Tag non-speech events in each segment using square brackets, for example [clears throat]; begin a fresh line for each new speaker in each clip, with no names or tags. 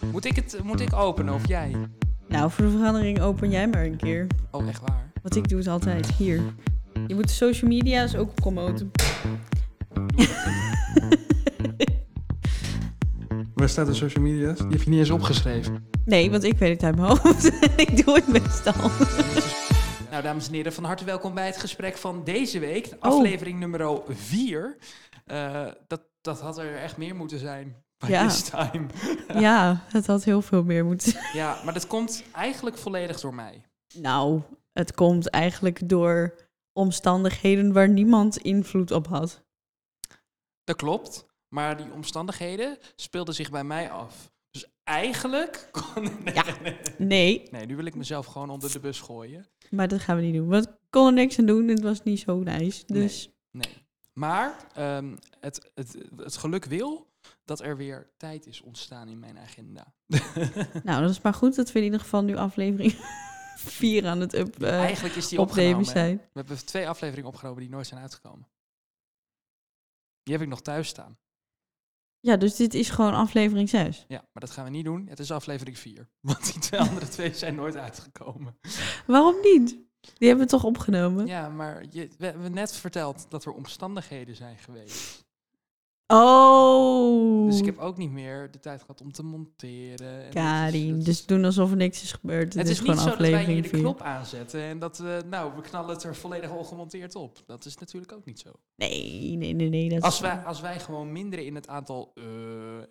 Moet ik, het, moet ik openen of jij?
Nou, voor de verandering open jij maar een keer.
Oh, echt waar.
Want ik doe het altijd hier. Je moet de social media's ook promoten.
Waar staat de social media's?
Die heb je niet eens opgeschreven.
Nee, want ik weet het uit mijn hoofd. [laughs] ik doe het meestal.
Nou, dames en heren, van harte welkom bij het gesprek van deze week.
Oh.
Aflevering nummer 4. dat, dat had er echt meer moeten zijn. By
Ja.
this time.
[laughs] Ja, het had heel veel meer moeten zijn.
Ja, maar dat komt eigenlijk volledig door mij.
Nou, het komt eigenlijk door omstandigheden waar niemand invloed op had.
Dat klopt. Maar die omstandigheden speelden zich bij mij af. Dus eigenlijk. [laughs] kon- Nee,
Ja. Nee,
nee, nu wil ik mezelf gewoon onder de bus gooien.
maar dat gaan we niet doen. Want ik kon er niks aan doen. Het was niet zo nice. Dus
Nee. Maar ehm, het, het, het geluk wil dat er weer tijd is ontstaan in mijn
[laughs]
agenda.
nou, dat is maar goed dat we in ieder geval nu aflevering [laughs] 4 aan het up, eh,
Eigenlijk is die
opnemen
opgenomen. hè.
zijn.
We hebben twee afleveringen opgenomen die nooit zijn uitgekomen. Die heb ik nog thuis staan.
Ja, dus dit is gewoon aflevering 6.
Ja, maar dat gaan we niet doen. Het is aflevering 4. [laughs] Want die twee andere twee zijn nooit uitgekomen.
Waarom niet? Die hebben we toch opgenomen?
Ja, maar je, we hebben net verteld dat er omstandigheden zijn geweest.
Oh!
Dus ik heb ook niet meer de tijd gehad om te monteren. En dat is-
Karin,
dat
dus doen alsof er niks is gebeurd. Het,
Het
is,
is
gewoon
niet zo dat wij hier
aflevering
de
4.
knop aanzetten en dat we, nou, we knallen het er volledig ongemonteerd op. Dat is natuurlijk ook niet zo.
Nee, nee, nee, nee. Dat
Als
is-
wij, als wij gewoon minderen in het aantal eh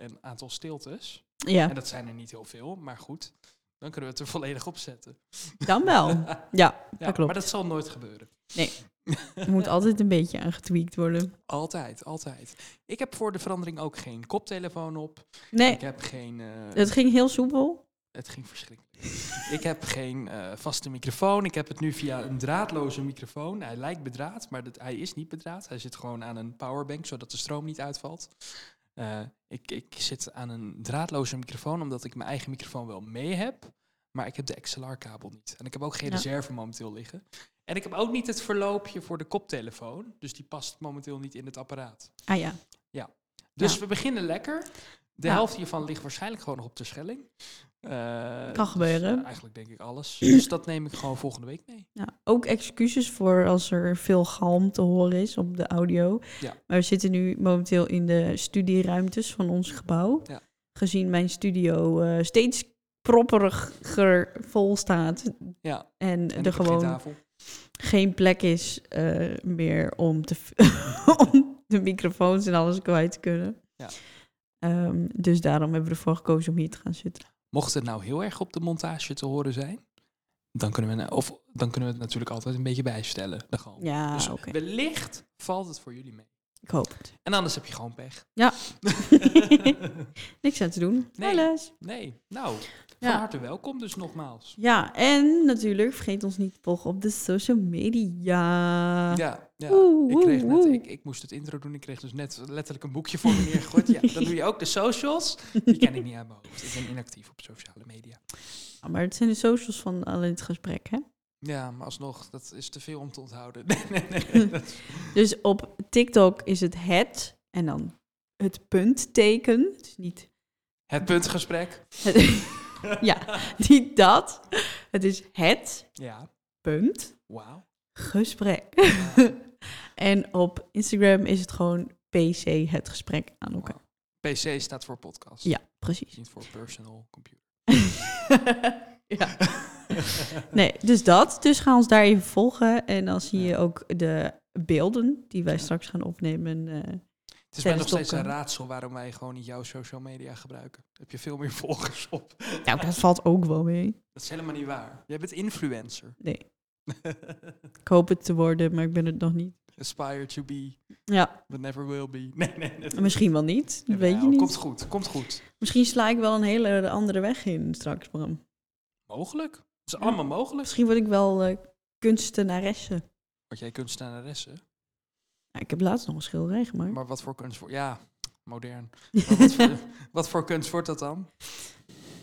en aantal stiltes,
Ja,
en dat zijn er niet heel veel, maar goed, dan kunnen we het er volledig op zetten.
dan wel. Ja,
[laughs] Ja,
klopt.
Maar dat zal nooit gebeuren.
er moet altijd een beetje aan getweakt worden.
Altijd, altijd. Ik heb voor de verandering ook geen koptelefoon op.
Nee,
Ik heb geen... eh,
het ging heel soepel.
Het ging verschrikkelijk. ik heb geen eh, vaste microfoon. Ik heb het nu via een draadloze microfoon. Hij lijkt bedraad, maar dat, hij is niet bedraad. Hij zit gewoon aan een powerbank, zodat de stroom niet uitvalt. Eh, ik, ik zit aan een draadloze microfoon, omdat ik mijn eigen microfoon wel mee heb. Maar ik heb de XLR-kabel niet. En ik heb ook geen
Ja.
reserve momenteel liggen. En ik heb ook niet het verloopje voor de koptelefoon. Dus die past momenteel niet in het apparaat.
Ah ja,
Dus
Ja. Nou.
we beginnen lekker. De
Ja.
helft hiervan ligt waarschijnlijk gewoon nog op de Schelling. Eh,
Kan gebeuren.
eh, eigenlijk denk ik
[clears throat]
alles. Dus dat neem ik gewoon volgende week mee.
ja. nou, ook excuses voor als er veel galm te horen is op de audio.
Ja.
Maar we zitten nu momenteel in de studieruimtes van ons gebouw.
Ja.
Gezien mijn studio eh, steeds propperiger vol staat
Ja,
en,
en ik
er
heb geen
gewoon
tafel.
geen plek is eh, meer om, te, [laughs] om de microfoons en alles kwijt te kunnen.
Ja.
Ehm, dus daarom hebben we ervoor gekozen om hier te gaan zitten.
Mocht het nou heel erg op de montage te horen zijn, dan kunnen we, na- of, dan kunnen we het natuurlijk altijd een beetje bijstellen. Dan gewoon.
Ja,
dus
oké.
wellicht valt het voor jullie mee.
Ik hoop
[laughs]
het.
En anders heb je gewoon
[laughs]
pech.
Ja. Niks aan te doen.
Nee.
Helaas.
nee, nou, van
Ja.
harte welkom dus nogmaals.
ja, en natuurlijk vergeet ons niet te volgen op de social media.
Ja, ja.
Woe,
Ik,
woe,
kreeg net,
woe.
ik, ik moest het intro doen. Ik kreeg dus net letterlijk een boekje voor me neergegooid. Ja, dan doe je ook de socials. Die ken ik niet uit mijn hoofd. Ik ben inactief op sociale media.
Ja, [laughs] maar het zijn de socials van alleen het gesprek, hè?
Ja, maar alsnog, dat is te veel om te onthouden. [laughs] Nee, nee, nee.
[laughs]
dat-
Dus op TikTok is het het en dan het puntteken. Het is niet
het puntgesprek.
Het- ja, niet dat. Het is het
Ja,
punt
wauw.
gesprek. en op Instagram is het gewoon PC het gesprek aan elkaar.
PC staat voor podcast.
Ja, precies. [laughs]
Niet voor personal computer.
ja. Nee, dus dat. Dus ga ons daar even volgen. En dan zie je ook de beelden die wij straks gaan opnemen. eh.
Het is mij nog
Tijdens
steeds een
Topcam.
raadsel waarom wij gewoon niet jouw social media gebruiken. Heb je veel meer [laughs] volgers op?
nou, dat valt ook wel mee.
Dat is helemaal niet waar. Jij bent [laughs] influencer.
Nee, ik hoop het te worden, maar ik ben het nog niet.
Aspire to be,
Ja,
but never will be. Nee, nee, nee.
misschien wel niet. Dat weet je
Jawel, nou, Komt
niet.
goed, komt goed.
Misschien sla ik wel een hele andere weg in straks, Bram.
Mogelijk. Het is
Ja.
allemaal mogelijk.
Misschien word ik wel eh kunstenaresse.
Want jij kunstenaressen.
Nou, ik heb laatst nog een schilderij gemaakt. [laughs]
Maar wat voor kunst wordt... Ja, modern. [laughs] Maar wat, voor, wat voor kunst wordt dat dan?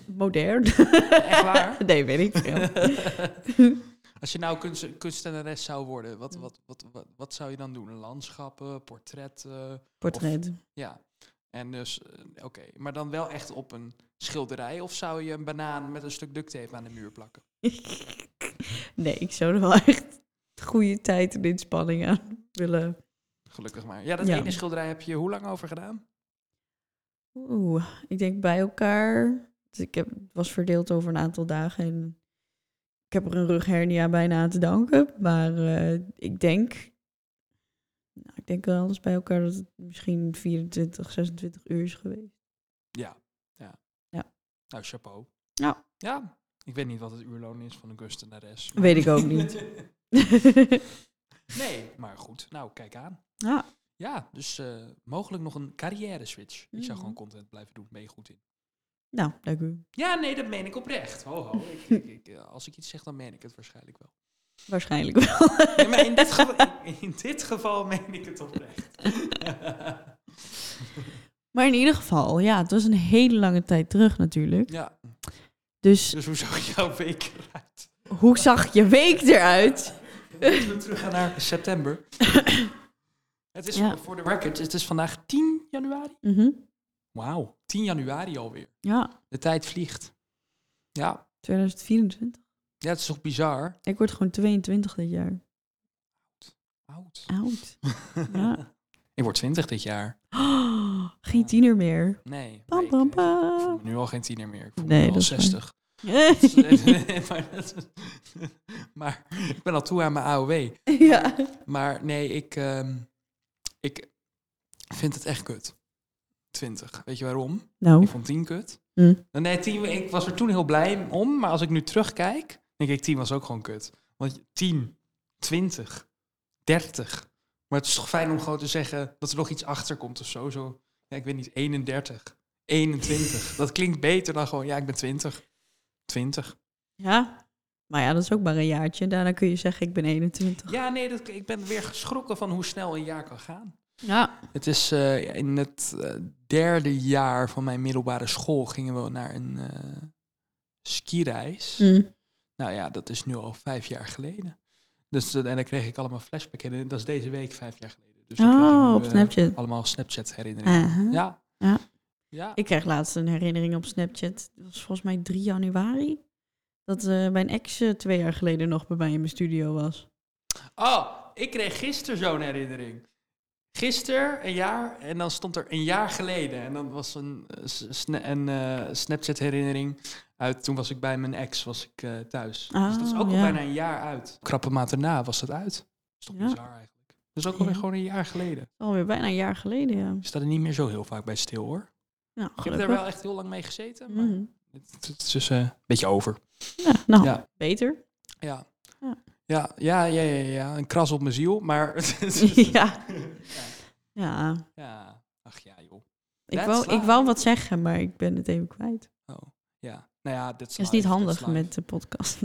Modern.
Echt waar?
[laughs] nee, weet ik
[laughs]
veel.
Als je nou kunst, kunstenares zou worden, wat, wat, wat, wat, wat zou je dan doen? Landschappen, portretten?
Portret. [laughs]
Ja. En dus, eh, oké. Maar dan wel echt op een schilderij? Of zou je een banaan met een stuk duct tape aan de muur plakken?
nee, ik zou er wel echt goede tijd en inspanning aan willen.
Gelukkig maar. Ja, dat
Ja.
ene schilderij heb je hoe lang over gedaan?
Oeh, ik denk bij elkaar. Dus ik heb, het was verdeeld over een aantal dagen. En ik heb er een rughernia bijna aan te danken. Maar eh, ik denk. Nou, ik denk wel alles bij elkaar dat het misschien 24, 26 uur is geweest. [laughs]
Ja. ja.
Ja.
Nou, chapeau.
Ja.
Ja. Ik weet niet wat het uurloon is van een kunstenares.
Weet ik ook niet.
[laughs] nee, maar goed. Nou, kijk aan.
Ja.
Ja, dus eh, mogelijk nog een carrière switch. Ik zou
Mhm.
gewoon content blijven doen. Ben je goed in.
nou, dank u.
Ja, nee, dat meen ik oprecht. Ho, ho. Ik,
[laughs]
ik, ik, eh, als ik iets zeg, dan meen ik het waarschijnlijk wel.
Waarschijnlijk wel. [laughs]
Nee, maar in dit, geval, in, in dit geval meen ik het oprecht. [laughs]
Maar in ieder geval, ja, het was een hele lange tijd terug natuurlijk.
ja,
Dus
dus hoe zag jouw week eruit?
hoe zag je week eruit?
Laten we teruggaan naar
[coughs]
september. het is
Ja.
voor de record, het is vandaag 10 januari.
Mhm.
Wauw, 10 januari alweer.
Ja,
De tijd vliegt. Ja,
2024.
ja het is toch bizar?
Ik word gewoon 22 dit jaar.
[laughs] Oud.
Oud. [gasps] Ja.
Ik word 20 dit jaar.
Oh, geen tiener meer.
Nee.
Pam,
ik-
pam,
ik, voel
pam.
me nu al geen tiener meer. Ik voel
Nee,
me nu al
dat is waar.
60. [laughs]
[laughs]
Nee, maar, dat- [laughs] maar ik ben al toe aan mijn AOW.
ja.
Maar nee, ik, ehm, ik vind het echt kut. 20. Weet je waarom?
Nou,
Ik vond 10 kut. Nou,
Mm.
Nee, 10, ik was er toen heel blij om. Maar als ik nu terugkijk, denk ik 10 was ook gewoon kut. Want 10, 20, 30. Maar het is toch fijn om gewoon te zeggen dat er nog iets achter komt of zo. zo ja, ik weet niet, 31, 21. dat klinkt beter dan gewoon, ja, ik ben 20. 20.
ja. Maar ja, dat is ook maar een jaartje. Daarna kun je zeggen, ik ben 21.
Ja, nee, dat, ik ben weer geschrokken van hoe snel een jaar kan gaan.
Ja.
Het is eh, in het eh, derde jaar van mijn middelbare school gingen we naar een eh skireis.
Mm.
Nou ja, dat is nu al vijf jaar geleden. Dus, eh, en dan kreeg ik allemaal flashback in. En dat is deze week vijf jaar geleden. Dus ik krijg nu,
Oh, op
eh,
Snapchat.
allemaal Snapchat herinneringen.
Aha.
Ja.
Ja.
Ja.
Ik kreeg laatst een herinnering op Snapchat. Dat was volgens mij 3 januari. Dat eh, mijn ex eh, twee jaar geleden nog bij mij in mijn studio was.
Oh, ik kreeg gisteren zo'n herinnering. Gisteren, een jaar, en dan stond er een jaar geleden. En dan was een, eh, s- sna- een eh, Snapchat-herinnering uit. Toen was ik bij mijn ex, was ik eh, thuis. dus dat is
Ah,
ook al
ja.
bijna een jaar uit. Krappe maand daarna was dat uit. Dat is toch
Ja.
bizar eigenlijk. Dat is ook alweer
Ja.
gewoon een jaar geleden.
Alweer bijna een jaar geleden, ja.
Ik sta er niet meer zo heel vaak bij stil, hoor.
Nou,
Ik heb er wel
gelukkig.
echt heel lang mee gezeten, maar
Mm.
het, het is dus eh, een beetje over.
Ja, nou,
Ja. [laughs]
beter.
Ja.
Ja.
Ja, ja, ja, ja, ja. Een kras op mijn ziel, maar... [laughs]
[laughs] ja. Ja,
ja. Ach ja, joh.
ik
That's
wou, ik
life.
wou wat zeggen, maar ik ben het even kwijt.
Oh, ja. Nou ja, dat is
Het is
live,
niet
that's
handig
live.
met de podcast.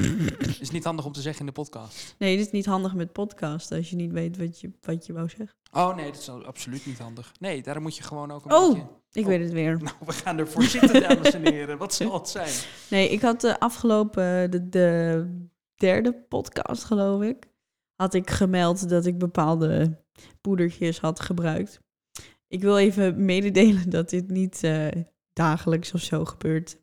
[laughs]
is niet handig om te zeggen in de podcast.
Nee, het is niet handig met podcast als je niet weet wat je, wat je wou zeggen.
Oh nee, dat is al- absoluut niet handig. Nee, daarom moet je gewoon ook een
Oh!
beetje...
Ik
Oh.
weet het weer.
Nou, we gaan ervoor zitten, dames en heren. Wat zal het zijn?
Nee, ik had de afgelopen, eh, de, de derde podcast geloof ik, had ik gemeld dat ik bepaalde poedertjes had gebruikt. Ik wil even mededelen dat dit niet eh, dagelijks of zo gebeurt,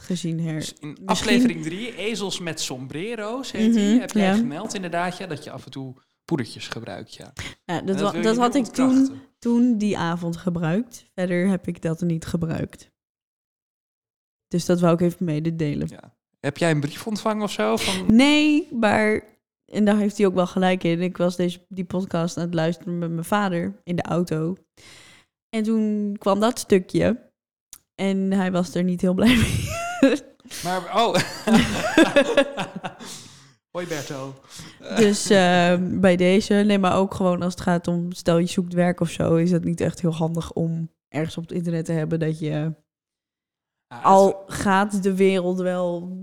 gezien her.
Dus in
misschien-
aflevering 3, Ezels met sombrero's, heet
Mhm,
die. Heb jij
ja.
gemeld inderdaad, ja, dat je af en toe poedertjes gebruikt, ja. En
Ja, Eh, dat
wil
wa-
je
dat
nu
had ik toen,
ontkrachten.
toen die avond gebruikt. Verder heb ik dat niet gebruikt. Dus dat wou ik even mededelen.
Heb jij een brief ontvangen of zo?
[laughs]
Van...
Nee, maar. En daar heeft hij ook wel gelijk in. Ik was deze, die podcast aan het luisteren met mijn vader in de auto. En toen kwam dat stukje. En hij was er niet heel blij
[laughs]
mee.
Maar,
[laughs]
oh. Hoi Berto.
Dus eh, bij deze, nee, maar ook gewoon als het gaat om, stel je zoekt werk of zo, is dat niet echt heel handig om ergens op het internet te hebben dat je,
Ah,
al gaat de wereld wel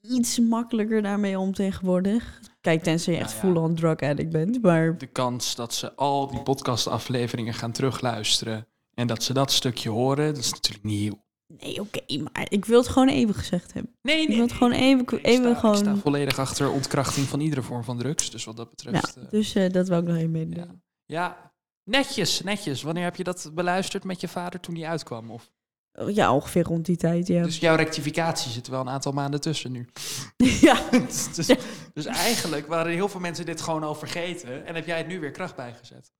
iets makkelijker daarmee om tegenwoordig. Kijk, tenzij je echt
Nou ja.
full-on drug addict bent, maar
de kans dat ze al die podcastafleveringen gaan terugluisteren en dat ze dat stukje horen, dat is natuurlijk niet heel.
Nee, oké, maar ik wil het gewoon even gezegd hebben.
Nee,
Ik wil het gewoon even,
ik,
even
sta,
gewoon...
ik sta volledig achter ontkrachting van iedere vorm van drugs. Dus wat dat betreft. eh,
ja, dus eh, dat wil ik nog even
ja.
meedelen.
ja, netjes, netjes. Wanneer heb je dat beluisterd met je vader toen die uitkwam? Of
Ja, ongeveer rond die tijd, ja.
Dus jouw rectificatie zit er wel een aantal maanden tussen nu.
[laughs] ja,
[laughs] dus, dus- dus eigenlijk waren heel veel mensen dit gewoon al vergeten. En heb jij het nu weer kracht bijgezet.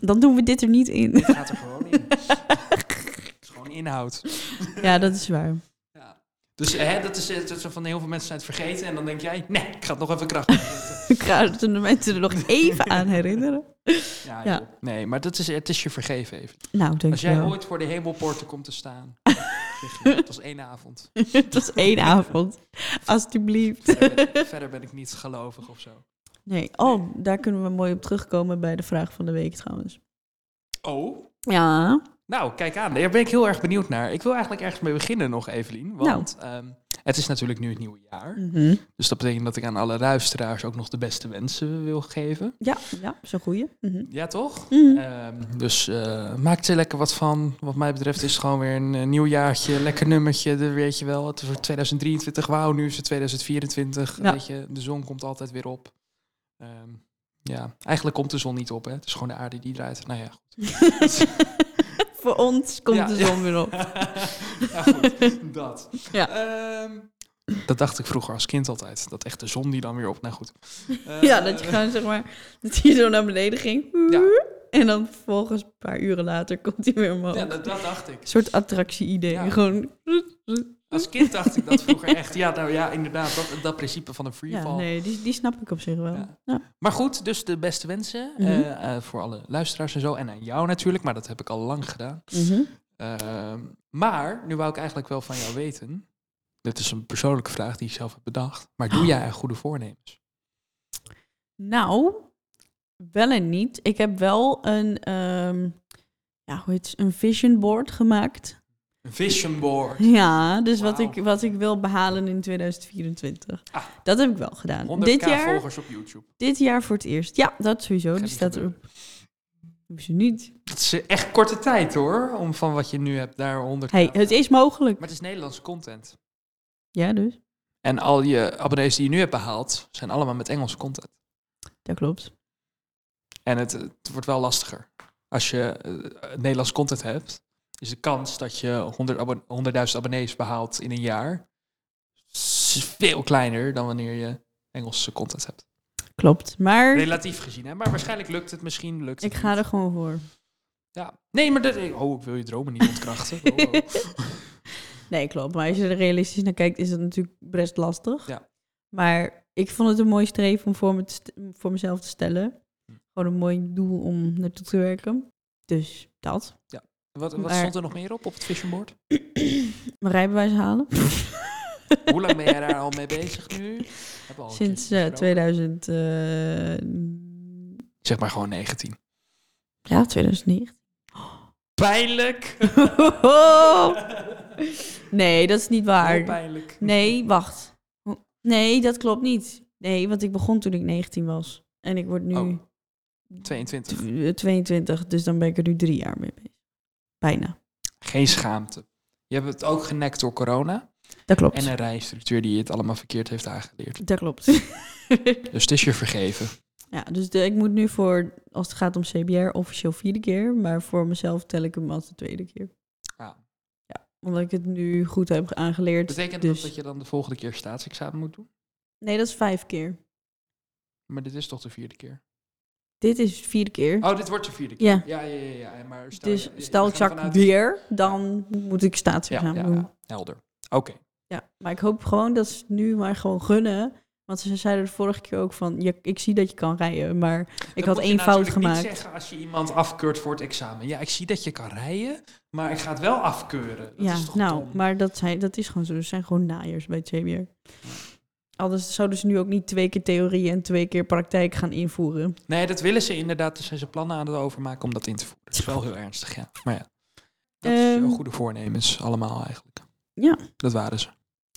dan doen we dit er niet
[laughs]
in.
Het gaat er gewoon
[laughs]
in. Het is gewoon inhoud.
ja, dat is waar.
Ja. Dus hè, dat is eh, dat is van heel veel mensen zijn het vergeten. En dan denk jij, nee, ik ga het nog even kracht
[laughs]
bijzetten.
Ik ga het de mensen er nog even aan herinneren.
Ja,
Ja.
joh. Nee, maar dat is, het is je vergeven even.
Nou, denk
Als
je
jij
wel.
ooit voor de hemelpoorten komt te
[laughs]
staan. zeg je, Het was één avond.
het was één avond. Alsjeblieft. [laughs]
Verder ben, ik- verder ben ik niet gelovig of zo.
Nee, oh, daar kunnen we mooi op terugkomen bij de vraag van de week trouwens.
Oh,
Ja.
Nou, kijk aan. Daar ben ik heel erg benieuwd naar. Ik wil eigenlijk ergens mee beginnen nog,
Nou.
Evelien. Want ehm, het is natuurlijk nu het nieuwe jaar.
Mhm.
Dus dat betekent dat ik aan alle luisteraars ook nog de beste wensen wil geven.
Ja, ja, zo'n goeie. Mhm.
Ja, toch?
Mhm.
Ehm, dus eh, maak er lekker wat van. Wat mij betreft is het gewoon weer een eh, nieuw jaartje. Lekker nummertje, dat weet je wel. Het is voor 2023, wauw, nu is het 2024.
Ja.
Weet je, de zon komt altijd weer op. Ehm, ja, eigenlijk komt de zon niet op, hè. Het is gewoon de aarde die draait. Nou ja,
[laughs] Voor ons komt
Ja,
de
ja.
zon weer op.
[laughs] ja, goed, dat.
Oh. Ja.
Ehm, dat dacht ik vroeger als kind altijd. Dat echt de zon die dan weer op. Nou goed. Eh,
[laughs] Ja, dat je gewoon zeg maar, dat hij zo naar beneden ging.
Ja.
En dan vervolgens een paar uren later komt hij weer omhoog.
[laughs] Ja,
Een
dat, dat dacht ik.
soort attractie-idee.
Ja.
Gewoon,
Als kind dacht ik dat vroeger echt. Ja, nou ja, inderdaad. Dat, dat principe van een freefall.
ja, nee, die, die snap ik op zich wel.
Ja.
Ja.
Maar goed, dus de beste wensen.
Mhm.
eh, eh, voor alle luisteraars en zo. En aan jou natuurlijk, maar dat heb ik al lang gedaan.
Mhm.
Ehm, maar nu wou ik eigenlijk wel van jou weten. Dit is een persoonlijke vraag die ik zelf heb bedacht. Maar
Ah.
doe jij aan goede voornemens?
Nou, wel en niet. Ik heb wel een, ehm, ja, hoe heet het, een vision board gemaakt. [laughs]
Een vision board.
Ja, dus wat,
Wauw.
ik, wat ik wil behalen in 2024.
Ah.
Dat heb ik wel gedaan.
100k
Dit jaar,
volgers op YouTube.
dit jaar voor het eerst. Ja, dat sowieso. Die
niet
staat
gebeuren.
erop. Hoezo niet?
Dat is eh, echt korte tijd hoor, om van wat je nu hebt daar 100
Hey, eh. het is mogelijk.
Maar het is Nederlandse content.
Ja, dus.
En al je abonnees die je nu hebt behaald, zijn allemaal met Engelse content.
Dat klopt.
En het, het wordt wel lastiger. Als je eh, Nederlands content hebt, is de kans dat je 100 abon- 100.000 abonnees behaalt in een jaar s- veel kleiner dan wanneer je Engelse content hebt.
Klopt. Maar
Relatief gezien, hè? maar waarschijnlijk lukt het misschien. Lukt het
ik ga
niet.
er gewoon voor.
Ja. Nee, maar dat, oh, ik wil je dromen niet
[laughs]
ontkrachten. Oh, oh.
Nee, klopt. Maar als je er realistisch naar kijkt, is dat natuurlijk best lastig.
Ja.
Maar ik vond het een mooi streven om voor, me te st- voor mezelf te stellen.
Hm.
Gewoon een mooi doel om naartoe te werken. Dus dat.
Wat, wat
Maar-
stond er nog meer op op het vision board?
Mijn rijbewijs halen.
Hoe lang ben jij daar al mee bezig nu? Hebben we al een
[laughs] Sinds
keertje
eh,
gesproken.
2000. eh,
Zeg maar gewoon 19.
ja, 2009.
Pijnlijk!
[laughs] nee, dat is niet
Heel
waar.
pijnlijk.
Nee, wacht. Nee, dat klopt niet. Nee, want ik begon toen ik 19 was. En ik word nu
Oh. 22.
tw- 22, dus dan ben ik er nu drie jaar mee bezig. Bijna.
Geen schaamte. Je hebt het ook genekt door corona.
Dat klopt.
En eh, een rijinstructeur die je het allemaal verkeerd heeft aangeleerd.
Dat klopt. [laughs]
Dus het is je vergeven.
ja, dus de, ik moet nu voor, als het gaat om CBR, officieel vierde keer. Maar voor mezelf tel ik hem als de tweede keer.
Ja.
Ja, omdat ik het nu goed heb aangeleerd.
Betekent
dus.
dat dat je dan de volgende keer staatsexamen moet doen?
Nee, dat is vijf keer.
Maar dit is toch de vierde keer?
Dit is vierde keer.
Oh, dit wordt de vierde keer.
Ja.
Ja, ja, ja. ja. Maar stel,
dus
je- je-
stel
we
ik
gaan
zak
vanuit-
weer, dan moet ik
Ja,
staatsexamen
ja,
doen.
ja. helder. Oké.
Ja, maar ik hoop gewoon dat ze het nu maar gewoon gunnen. Want ze zeiden de vorige keer ook van, je, ik zie dat je kan rijden, maar ik
Dat
had
moet je
één fout
natuurlijk
gemaakt.
niet zeggen als je iemand afkeurt voor het examen. Ja, ik zie dat je kan rijden, maar ik ga het wel afkeuren. Dat
ja,
is toch
nou,
dom?
maar dat, zijn, dat is gewoon zo. Ze zijn gewoon naaiers bij het CBR. Anders zouden ze nu ook niet twee keer theorie en twee keer praktijk gaan invoeren.
Nee, dat willen ze inderdaad. Dus zijn ze plannen aan het overmaken om dat in te voeren. Dat is wel heel ernstig, ja. Maar ja, dat is
Ehm.
jouw goede voornemens allemaal eigenlijk.
Ja.
Dat waren ze.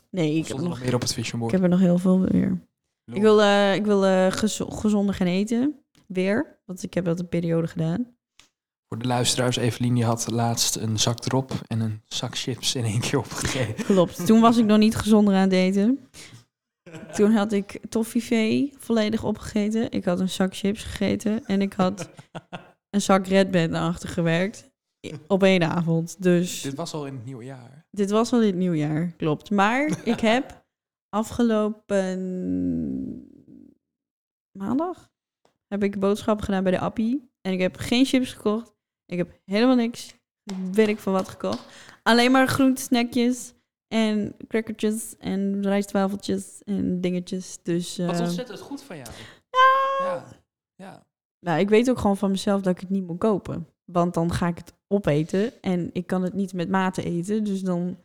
Nee,
Ik
ik heb,
stond
nog,
nog meer op het vision
ik
board.
heb er nog heel veel meer. Ik wil, eh, ik wil eh, gezo- gezonder gaan eten. Weer. Want ik heb dat een periode gedaan.
Voor de luisteraars, Evelien die had laatst een zak erop en een zak chips in één keer
[laughs]
opgegeten.
Klopt. Toen was ik nog niet gezonder aan het eten. Toen had ik toffifee volledig opgegeten. Ik had een zak chips gegeten. En ik had een zak Red Band naar achter gewerkt. op één avond. Dus
Dit was al in het nieuwe jaar.
dit was al dit nieuwjaar, klopt. Maar
[laughs]
ik heb afgelopen maandag heb ik boodschappen gedaan bij de Appie. En ik heb geen chips gekocht. Ik heb helemaal niks. Weet ik van wat gekocht. Alleen maar groentesnackjes en crackertjes en rijstwafeltjes en dingetjes. Dus
Wat
eh,
ontzettend goed van jou.
ja.
Ja. Ja.
Nou, ik weet ook gewoon van mezelf dat ik het niet moet kopen. Want dan ga ik het opeten en ik kan het niet met mate eten. Dus dan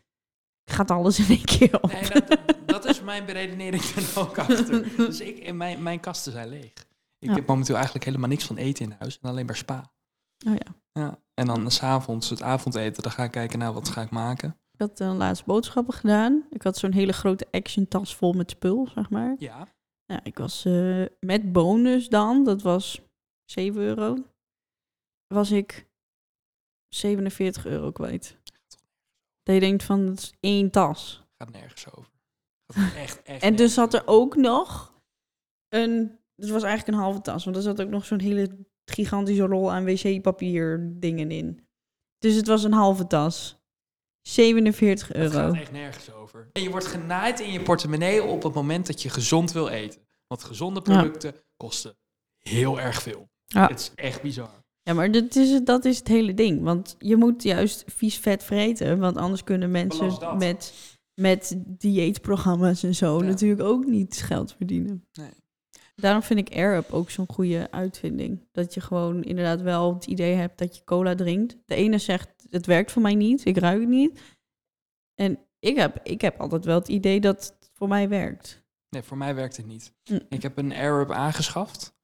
gaat alles in één keer op.
Nee, dat, dat- dat is mijn beredenering er ook achter. Dus ik, en mijn, mijn kasten zijn leeg. Ik
Ja.
heb momenteel eigenlijk helemaal niks van eten in huis. En alleen maar spa.
Oh ja.
Ja. En dan s'avonds het avondeten. Dan ga ik kijken naar wat ga ik maken.
Ik had dan laatst boodschappen gedaan. Ik had zo'n hele grote action tas vol met spul, zeg maar.
Ja.
Ja, ik was eh, met bonus dan, dat was 7 euro, was ik 47 euro kwijt. Dat je denkt van, dat is één tas.
Gaat nergens over. Gaat echt, echt
En dus
nergens
zat er
over.
ook nog een. Het was eigenlijk een halve tas, want er zat ook nog zo'n hele gigantische rol aan wc-papier dingen in. Dus het was een halve tas. 47
Het
euro.
gaat echt nergens over. En je wordt genaaid in je portemonnee op het moment dat je gezond wil eten. Want gezonde
Ja.
producten kosten heel erg veel.
Ja.
Het is echt bizar.
Ja, maar dat is, het- dat is het hele ding. Want je moet juist vies vet vreten. Want anders kunnen
Belast dat.
mensen met, met dieetprogramma's en zo
Ja.
natuurlijk ook niet geld verdienen.
Nee.
Daarom vind ik Air Up ook zo'n goede uitvinding. Dat je gewoon inderdaad wel het idee hebt dat je cola drinkt. De ene zegt, het werkt voor mij niet, ik ruik het niet. En ik heb, ik heb altijd wel het idee dat het voor mij werkt.
Nee, voor mij werkt het niet.
Mm.
Ik heb een Arab aangeschaft.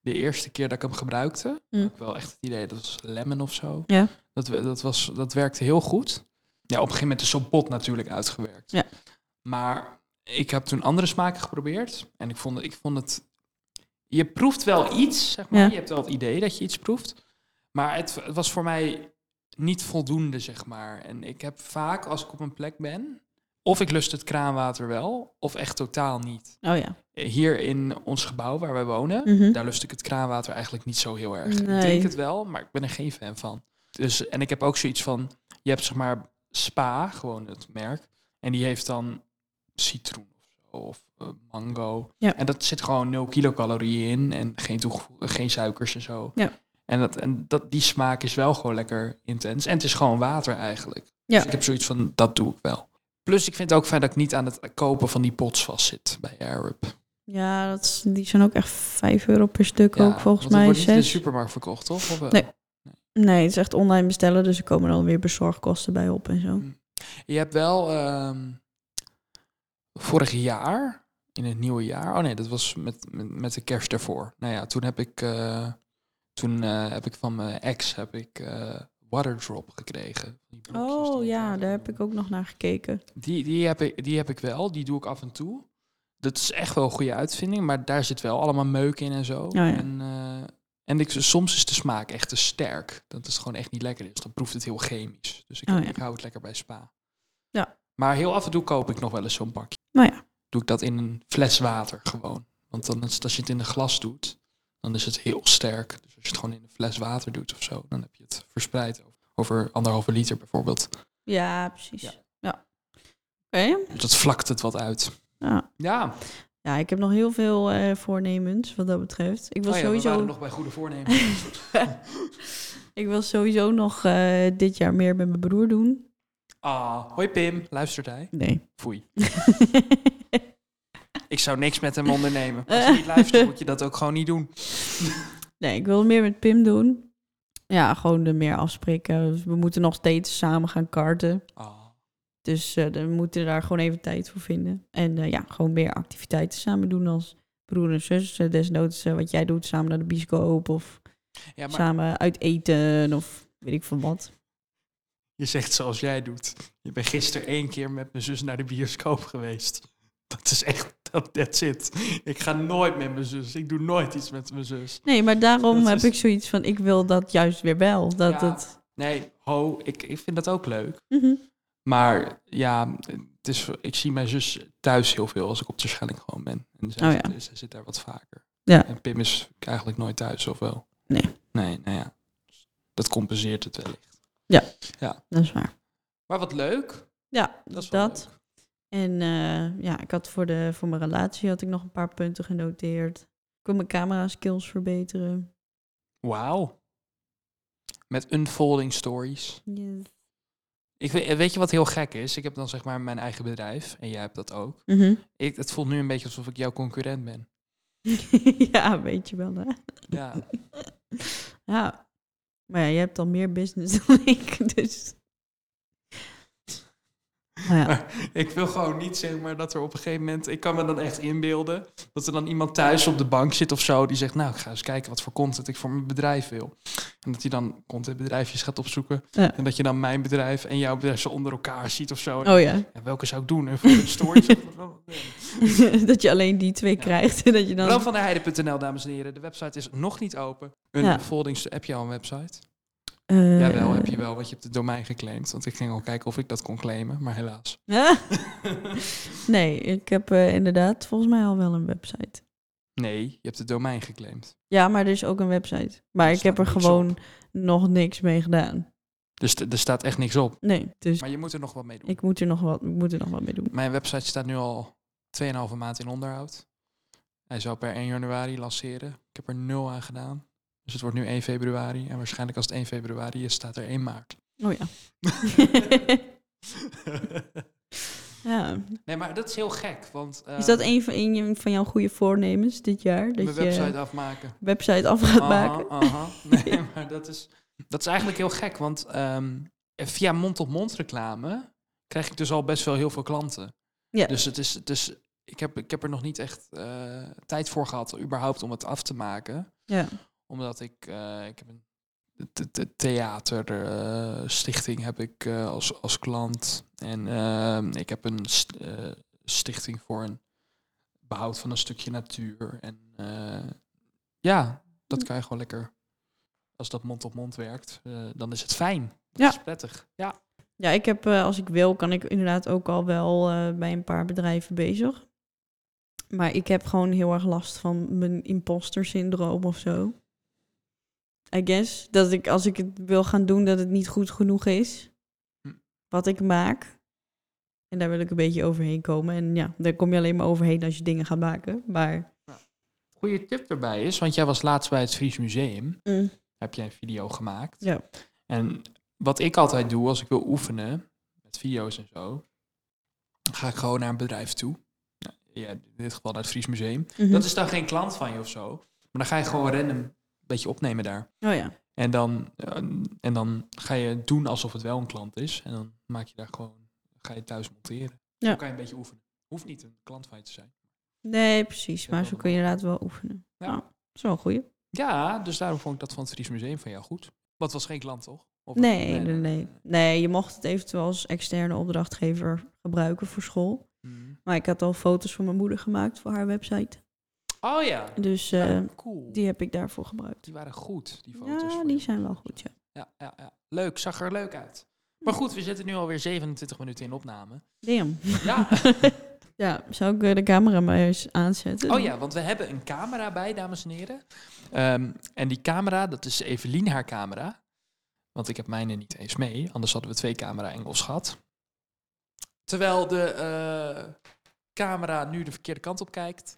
De eerste keer dat ik hem gebruikte,
Mm.
had ik wel echt het idee, dat was lemon of zo.
Ja.
Dat, we- dat, was, dat werkte heel goed. Ja, op een gegeven moment is zo'n pot natuurlijk uitgewerkt.
Ja.
Maar ik heb toen andere smaken geprobeerd. En ik vond, ik vond het... Je proeft wel iets, zeg maar.
Ja.
Je hebt wel het idee dat je iets proeft. Maar het, het was voor mij niet voldoende, zeg maar. En ik heb vaak, als ik op een plek ben... Of ik lust het kraanwater wel, of echt totaal niet
Oh ja.
Eh, hier in ons gebouw waar wij wonen,
Mhm.
daar lust ik het kraanwater eigenlijk niet zo heel erg. Ik
Nee.
drink het wel, maar ik ben er geen fan van. Dus, en ik heb ook zoiets van, je hebt zeg maar Spa, gewoon het merk, en die heeft dan citroen of zo, of eh, mango.
Ja.
En dat zit gewoon 0 kilocalorieën in en geen, toegevo- geen suikers en zo.
Ja.
En, dat, en dat, die smaak is wel gewoon lekker intens. En het is gewoon water eigenlijk.
Ja.
Dus ik heb zoiets van, dat doe ik wel. Plus, ik vind het ook fijn dat ik niet aan het kopen van die pots vastzit bij Arab.
Ja, dat is, die zijn ook echt 5 euro per stuk ook volgens
want het
mij.
wordt niet in de
zes.
supermarkt verkocht, toch? Of wel?
Nee. Nee, het is echt online bestellen, dus er komen dan weer bezorgkosten bij op en zo.
Je hebt wel ehm, vorig jaar, in het nieuwe jaar... Oh nee, dat was met, met, met de kerst daarvoor. Nou ja, toen heb ik, eh, toen, eh, heb ik van mijn ex heb ik, eh, Waterdrop gekregen. Die blokjes
Oh
die
ja,
het
daar heb
doen.
ik ook nog naar gekeken.
Die, die, heb ik, die heb ik wel, die doe ik af en toe. Dat is echt wel een goede uitvinding, maar daar zit wel allemaal meuk in en zo.
ja.
En, eh, en ik, soms is de smaak echt te sterk. Dat het gewoon echt niet lekker is. Dan proeft het heel chemisch. Dus ik,
Oh ja.
ik hou het lekker bij spa.
Ja.
Maar heel af en toe koop ik nog wel eens zo'n pakje.
Nou ja.
Doe ik dat in een fles water gewoon. Want dan is het- als je het in een glas doet, dan is het heel sterk. Dus als je het gewoon in een fles water doet of zo, dan heb je het verspreid over, over anderhalve liter bijvoorbeeld.
Ja, precies.
Ja.
Ja. Oké.
Dus dat vlakt het wat uit.
Ja.
Ja,
ja, ik heb nog heel veel eh, voornemens wat dat betreft. Ik wil
Oh ja, we
sowieso
waren nog bij goede voornemens.
[laughs] ik wil sowieso nog eh, dit jaar meer met mijn broer doen.
Ah, hoi Pim, luistert hij?
Nee.
Foei. Ik zou niks met hem ondernemen. Als je niet luistert, moet je dat ook gewoon niet doen.
[laughs] nee, ik wil meer met Pim doen. Ja, gewoon er meer afspreken. Dus We moeten nog steeds samen gaan karten.
Ah,
Dus eh, we moeten daar gewoon even tijd voor vinden. En eh, ja, gewoon meer activiteiten samen doen als broer en zus. Eh, desnoods eh, wat jij doet, samen naar de bioscoop of
Ja, maar
samen uit eten of weet ik van wat.
je zegt zoals jij doet. Je bent gisteren één keer met mijn zus naar de bioscoop geweest. Dat is echt, dat, that's it. Ik ga nooit met mijn zus. Ik doe nooit iets met mijn zus.
Nee, maar daarom
Dat
heb
is-
ik zoiets van, ik wil dat juist weer wel. Dat
Ja.
het...
Nee, ho, ik, ik vind dat ook leuk.
Mhm.
Maar ja, het is, ik zie mijn zus thuis heel veel als ik op de Schelling gewoon ben. En zij,
Oh ja.
zit, zij zit daar wat vaker.
Ja.
En Pim is eigenlijk nooit thuis, of wel?
Nee.
Nee, nou ja. Dat compenseert het wellicht.
Dat is waar.
Maar wat leuk.
Ja,
Dat
dat.
is wel leuk.
En eh, ja, ik had voor, de, voor mijn relatie had ik nog een paar punten genoteerd. Ik wil mijn camera skills verbeteren.
Wauw. Met unfolding stories.
Yes.
Ik weet, weet je wat heel gek is? Ik heb dan zeg maar mijn eigen bedrijf en jij hebt dat ook.
Mhm.
Ik, het voelt nu een beetje alsof ik jouw concurrent ben.
[laughs] ja, weet je wel hè.
Ja,
Ja. Maar ja, je hebt al meer business [laughs] dan ik, dus... Maar ja.
ik wil gewoon niet zeg maar dat er op een gegeven moment, ik kan me dan echt inbeelden, dat er dan iemand thuis op de bank zit of zo die zegt, nou ik ga eens kijken wat voor content ik voor mijn bedrijf wil. En dat hij dan contentbedrijfjes gaat opzoeken
Ja.
en dat je dan mijn bedrijf en jouw bedrijf zo onder elkaar ziet of zo.
Oh ja, [laughs]
En welke zou ik doen? En voor de stories?
dat je alleen die twee
Ja.
krijgt en dat je dan...
Bram van der Heide.nl, dames en heren. De website is nog niet open. Een
Ja.
folding, heb je al een website?
Eh,
Jawel, heb
[laughs]
je wel, want je hebt het domein geclaimd. Want ik ging al kijken of ik dat kon claimen, maar helaas.
Ja? Nee, ik heb eh, inderdaad volgens mij al wel een website.
nee, je hebt het domein geclaimd.
Ja, maar er is ook een website. Maar ik
staat
heb er
niks
gewoon nog niks mee gedaan.
Dus t- er staat echt niks op.
Nee, dus
Maar je moet er nog wat mee doen.
ik moet er nog wat, ik moet er nog wat mee doen.
Mijn website staat nu al 2,5 maand in onderhoud. Hij zou per 1 januari lanceren. Ik heb er nul aan gedaan. Dus het wordt nu 1 februari. En waarschijnlijk als het 1 februari is, staat er 1 maart.
Oh
[laughs]
ja. [laughs] ja.
nee, maar dat is heel gek. Want, eh,
Is dat een van, een van jouw goede voornemens dit jaar? Dat
mijn
je
website Ah,
[laughs]
afmaken.
website af gaat
Aha,
maken? [laughs]
aha. Nee, maar dat is, dat is eigenlijk heel gek. Want ehm, via mond-op-mond reclame krijg ik dus al best wel heel veel klanten.
Ja.
Dus, het is, het is, ik, heb, ik heb er nog niet echt eh, tijd voor gehad, überhaupt om het af te maken.
Ja.
Omdat ik, eh, ik heb een th- th- theaterstichting eh, heb ik eh, als, als klant. En ehm, ik heb een st- eh, stichting voor een behoud van een stukje natuur. En eh, ja, dat kan je gewoon lekker. Als dat mond op mond werkt, eh, dan is het fijn. Dat
Ja.
is prettig. Ja.
Ja, ik heb, eh, als ik wil, kan ik inderdaad ook al wel eh, bij een paar bedrijven bezig. Maar ik heb gewoon heel erg last van mijn imposter syndroom of zo. I guess dat ik als ik het wil gaan doen, dat het niet goed genoeg is.
Hm.
Wat ik maak. En daar wil ik een beetje overheen komen. En ja, daar kom je alleen maar overheen als je dingen gaat maken. Maar
Goede tip erbij is, want jij was laatst bij het Fries Museum. Heb jij een video gemaakt.
Ja.
En wat ik altijd doe als ik wil oefenen, met video's en zo, dan ga ik gewoon naar een bedrijf toe. Nou, ja, in dit geval naar het Fries Museum.
Mhm.
Dat is dan geen klant van je of zo. Maar dan ga je gewoon random een beetje opnemen daar.
Oh ja.
En dan, eh, en dan ga je doen alsof het wel een klant is. En dan maak je daar gewoon, ga je thuis monteren.
Ja.
Dan kan je een beetje oefenen. Hoeft niet een klant van je te zijn.
Nee, precies.
Ja,
Maar
wel
zo kun je inderdaad wel oefenen.
Ja.
Nou, dat is wel een goeie.
Ja, dus daarom vond ik dat van het Fries Museum van jou goed. Wat was geen klant, toch? Of-
Nee, nee, nee. Nee, je mocht het eventueel als externe opdrachtgever gebruiken voor school.
Mhm.
Maar ik had al foto's van mijn moeder gemaakt voor haar website.
Oh ja,
Dus eh,
Ja, cool. Die,
die heb ik daarvoor gebruikt.
waren goed, die foto's.
Ja,
voor
die
je.
zijn wel goed, ja.
Ja, ja, ja. Leuk, zag er leuk
[laughs]
uit. Maar goed, we zitten nu alweer 27 minuten in opname.
Damn.
Ja.
[laughs] Ja, zou ik eh, de camera maar eens aanzetten?
Oh ja, want we hebben een camera bij, dames en heren. Ehm, en die camera, dat is Evelien haar camera. Want ik heb mijne niet eens mee, anders hadden we twee camera Engels gehad. Terwijl de eh, camera nu de verkeerde kant op kijkt.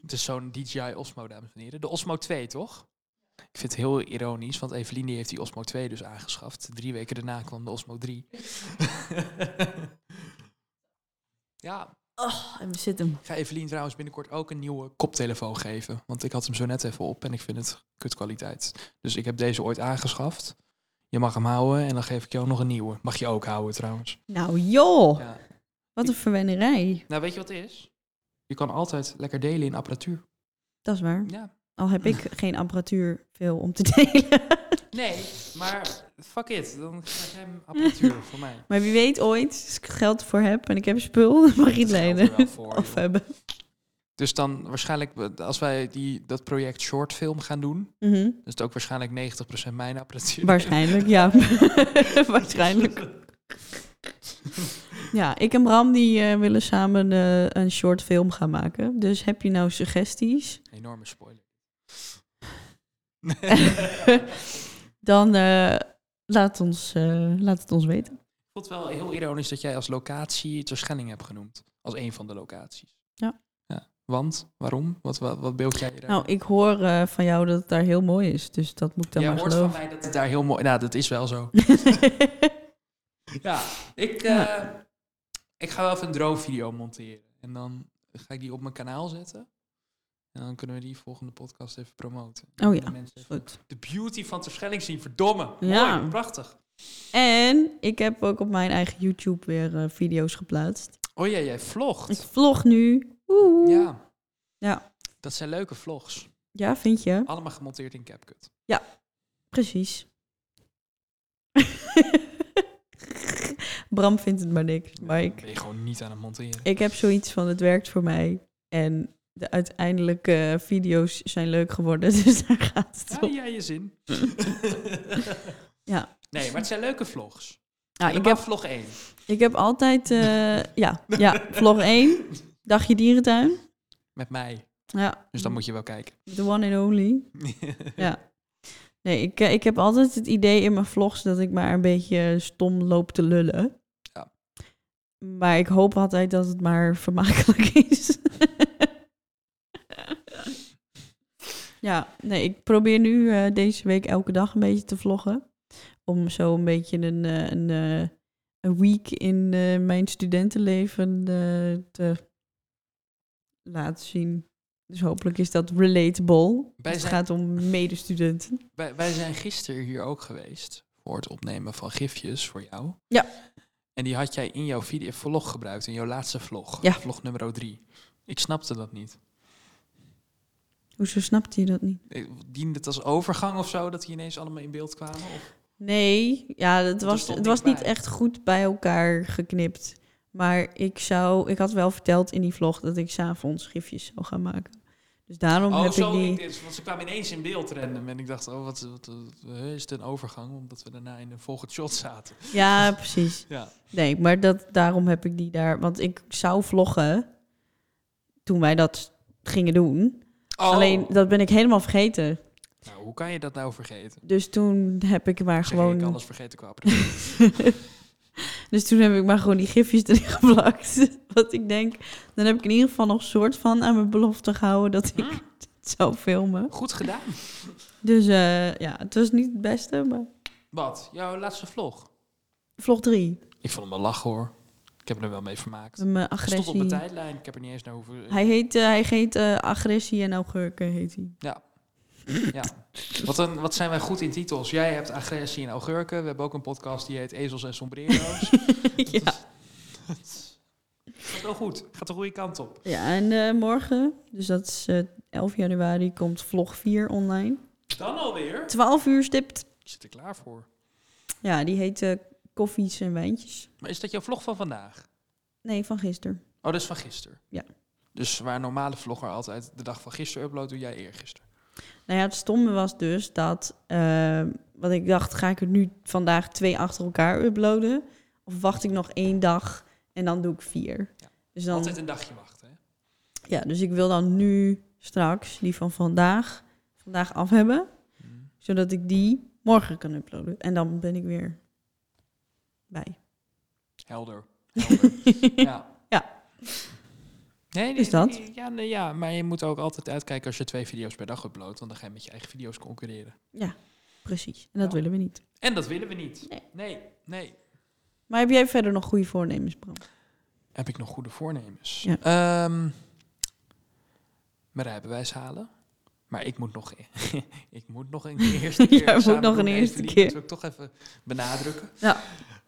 Het is zo'n DJI Osmo, dames en heren. De Osmo 2, toch? Ik vind het heel ironisch, want Evelien die heeft die Osmo 2 dus aangeschaft. Drie weken daarna kwam de Osmo 3. [laughs] ja,
Oh, en we zitten hem.
ik ga Evelien trouwens binnenkort ook een nieuwe koptelefoon geven. Want ik had hem zo net even op en ik vind het kutkwaliteit. Dus ik heb deze ooit aangeschaft. Je mag hem houden en dan geef ik jou nog een nieuwe. Mag je ook houden trouwens.
Nou joh,
Ja.
wat een verwennerij.
Nou, weet je wat het is? Je kan altijd lekker delen in apparatuur.
Dat is waar.
Ja.
Al
[laughs]
heb ik geen apparatuur veel om te [laughs] delen.
Nee, maar fuck it. Dan krijg jij [laughs] hem apparatuur voor mij.
Maar wie weet ooit, als ik geld voor heb en ik heb spul, [laughs] dan mag je
Dat
het
geldt
lenen.
er wel
[laughs]
voor,
Of
joh.
eh, hebben.
Dus dan waarschijnlijk, eh, als wij die, dat project shortfilm gaan doen... dan
Mhm.
is het ook waarschijnlijk 90% mijn apparatuur.
Waarschijnlijk, ja. [laughs] Waarschijnlijk. Ja, ik en Bram die eh, willen samen eh, een short film gaan maken. Dus heb je nou suggesties?
[laughs]
[laughs]
Enorme [laughs] spoiler.
Dan eh, Laat, ons, eh, laat het ons weten.
Ik vond het wel heel ironisch dat jij als locatie Terschelling hebt genoemd. Als een van de locaties.
Ja.
ja. Want, waarom? Wat, wat, wat beeld jij eruit?
Nou, ik hoor eh, van jou dat het daar heel mooi is. Dus dat moet ik dan
jij
maar
hoort
geloven.
van mij dat het daar heel mooi... Nou, dat is wel zo. Ja, ik, eh, ik ga wel even een droomvideo monteren. En dan ga ik die op mijn kanaal zetten. En dan kunnen we die volgende podcast even promoten. Dan
Oh
kunnen
ja,
mensen even
[laughs] Goed.
De beauty van Terschelling zien, verdomme.
Ja.
Mooi, prachtig.
En ik heb ook op mijn eigen YouTube weer eh, video's geplaatst.
Oh ja, jij
Ik
vlogt.
vlog nu. Oeh.
Ja.
Ja.
Dat zijn leuke vlogs.
Ja, vind je?
Allemaal gemonteerd in CapCut.
Precies. [laughs] Bram vindt het maar niks. Maar
Dan
ik,
ben je gewoon niet aan het monteren.
ik heb zoiets van het werkt voor mij. En de uiteindelijke eh, video's zijn leuk geworden. [laughs] Dus daar gaat het
Ja,
om.
ja, je zin.
[laughs] Ja.
Nee, maar het zijn leuke vlogs.
Nou, ik,
Helemaal
heb,
vlog 1.
ik heb altijd... eh, ja, ja,
[laughs]
vlog 1. Dagje dierentuin.
Met mij.
Ja.
Dus dan moet je wel kijken. [laughs]
The one and only. Mm. Ja. Nee, ik, eh, ik heb altijd het idee in mijn vlogs dat ik maar een beetje stom loop te lullen.
Ja.
Maar ik hoop altijd dat het maar vermakelijk [laughs] is. ja, nee, ik probeer nu eh, deze week elke dag een beetje te vloggen. Om zo een beetje een, eh, een, eh, een week in eh, mijn studentenleven eh, te laten zien. Dus hopelijk is dat relatable.
Wij
het
zijn-
gaat om medestudenten.
Wij, wij zijn gisteren hier ook geweest voor het opnemen van gifjes voor jou.
Ja.
En die had jij in jouw video vlog gebruikt, in jouw laatste vlog.
Ja.
Vlog nummer 3. Ik snapte dat niet.
Hoezo snapt hij dat niet?
Eh, Diende het als overgang of zo, dat die ineens allemaal in beeld kwamen? Of?
Nee, ja, het was,
stond
het was
niks
niet
bij.
echt goed bij elkaar geknipt. Maar ik zou, ik had wel verteld in die vlog dat ik s'avonds gifjes zou gaan maken. Dus daarom
Oh,
heb ik
zo,
die.
ik dit, want ze kwamen ineens in beeld random. En ik dacht, oh, wat, wat, wat- eh, is het een overgang? Omdat we daarna in een volgend shot zaten.
Ja, precies.
Ja.
Nee, maar dat, daarom heb ik die daar. Want ik zou vloggen toen wij dat gingen doen.
Oh.
Alleen dat ben ik helemaal vergeten.
Nou, hoe kan je dat nou vergeten?
Dus toen heb ik maar
Zeg, Ik
gewoon.
alles vergeten qua apparatuur.
Dus toen heb ik maar gewoon die gifjes erin [laughs] geplakt. Want ik denk, dan heb ik in ieder geval nog soort van aan mijn belofte gehouden dat
Ah.
ik [laughs] het zou filmen.
[laughs] Goed gedaan.
Dus eh, ja, het was niet het beste, maar
Wat? Jouw laatste vlog?
vlog 3.
Ik vond hem wel lachen hoor. Ik heb er wel mee vermaakt.
Mijn
Stond op mijn
agressie.
tijdlijn. Ik heb er niet eens naar hoeven.
Hij heet, eh, hij heet eh, agressie en augurken heet
[laughs]
hij.
Ja. Wat, een, wat zijn wij goed in titels? Jij hebt agressie en augurken. We hebben ook een podcast die heet Ezels en
[laughs]
Sombrero's.
ja.
[laughs] Gaat wel goed. Gaat de goede kant op.
ja, en eh, morgen, dus dat is eh, 11 januari, komt vlog 4 online.
Dan alweer.
12 uur stipt.
Ik zit er klaar voor.
Ja, die heet eh, Koffies en Wijntjes.
Maar is dat jouw vlog van vandaag?
Nee, van gisteren.
Oh, dat is van gisteren.
Ja.
Dus waar een normale vlogger altijd de dag van gisteren uploadt, doe jij eergisteren.
Nou ja, het stomme was dus dat, eh, wat ik dacht, ga ik er nu vandaag twee achter elkaar uploaden? Of wacht ik nog één dag en dan doe ik vier?
Ja.
Dus, dan,
Altijd een dagje wachten. Hè?
ja, dus ik wil dan nu straks die van vandaag, vandaag af hebben, zodat ik die morgen kan uploaden. En dan ben ik weer bij.
Helder. Helder. ja.
[laughs] Ja.
Nee,
Is
nee,
dat?
nee, Ja, nee, ja, maar je moet ook altijd uitkijken als je twee video's per dag uploadt, want dan ga je met je eigen video's concurreren.
Precies. En dat
Ja.
willen we niet.
En dat willen we niet.
Nee.
nee. nee.
Maar heb jij verder nog goede voornemens, Bram?
Heb ik nog goede voornemens?
Ja.
Ehm, mijn rijbewijs halen. Maar ik moet nog, e- [laughs] ik moet nog een
[laughs]
eerste keer.
Jij moet
examen
nog
doen.
een eerste
Even die-
keer.
Dat wil ik toch even benadrukken.
Ja.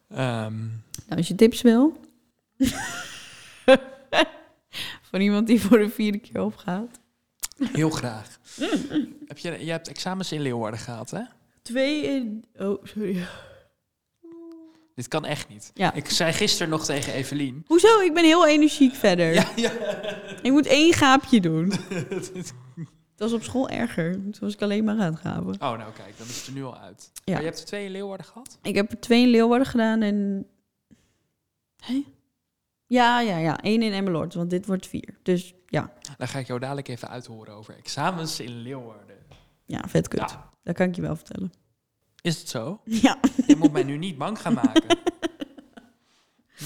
Ehm,
Nou, als je tips wil. [laughs] Van iemand die voor de vierde keer opgaat.
heel
[laughs]
graag. Heb je, jij hebt examens in Leeuwarden gehad, hè?
Twee in. Oh, sorry.
Dit kan echt niet.
Ja.
Ik zei gisteren nog tegen Evelien.
Hoezo? Ik ben heel energiek verder.
Ja, ja.
[laughs] Ik moet één gaapje doen. Dat was op school erger. Toen was ik alleen maar aan het gapen.
[laughs] Oh, nou kijk, dan is het er nu al uit.
Ja.
Maar je hebt er twee in Leeuwarden gehad?
Ik heb er twee in Leeuwarden gedaan en... Hé? Ja, ja, ja. Eén in Emmeloord, want dit wordt vier. Dus ja,
Dan ga ik jou dadelijk even uithoren over examens in Leeuwarden. Nou,
ja vet kut.
Ja.
Dat kan ik je wel vertellen. [laughs]
Is het zo?
Ja.
Je moet mij nu niet bang gaan
[laughs]
maken.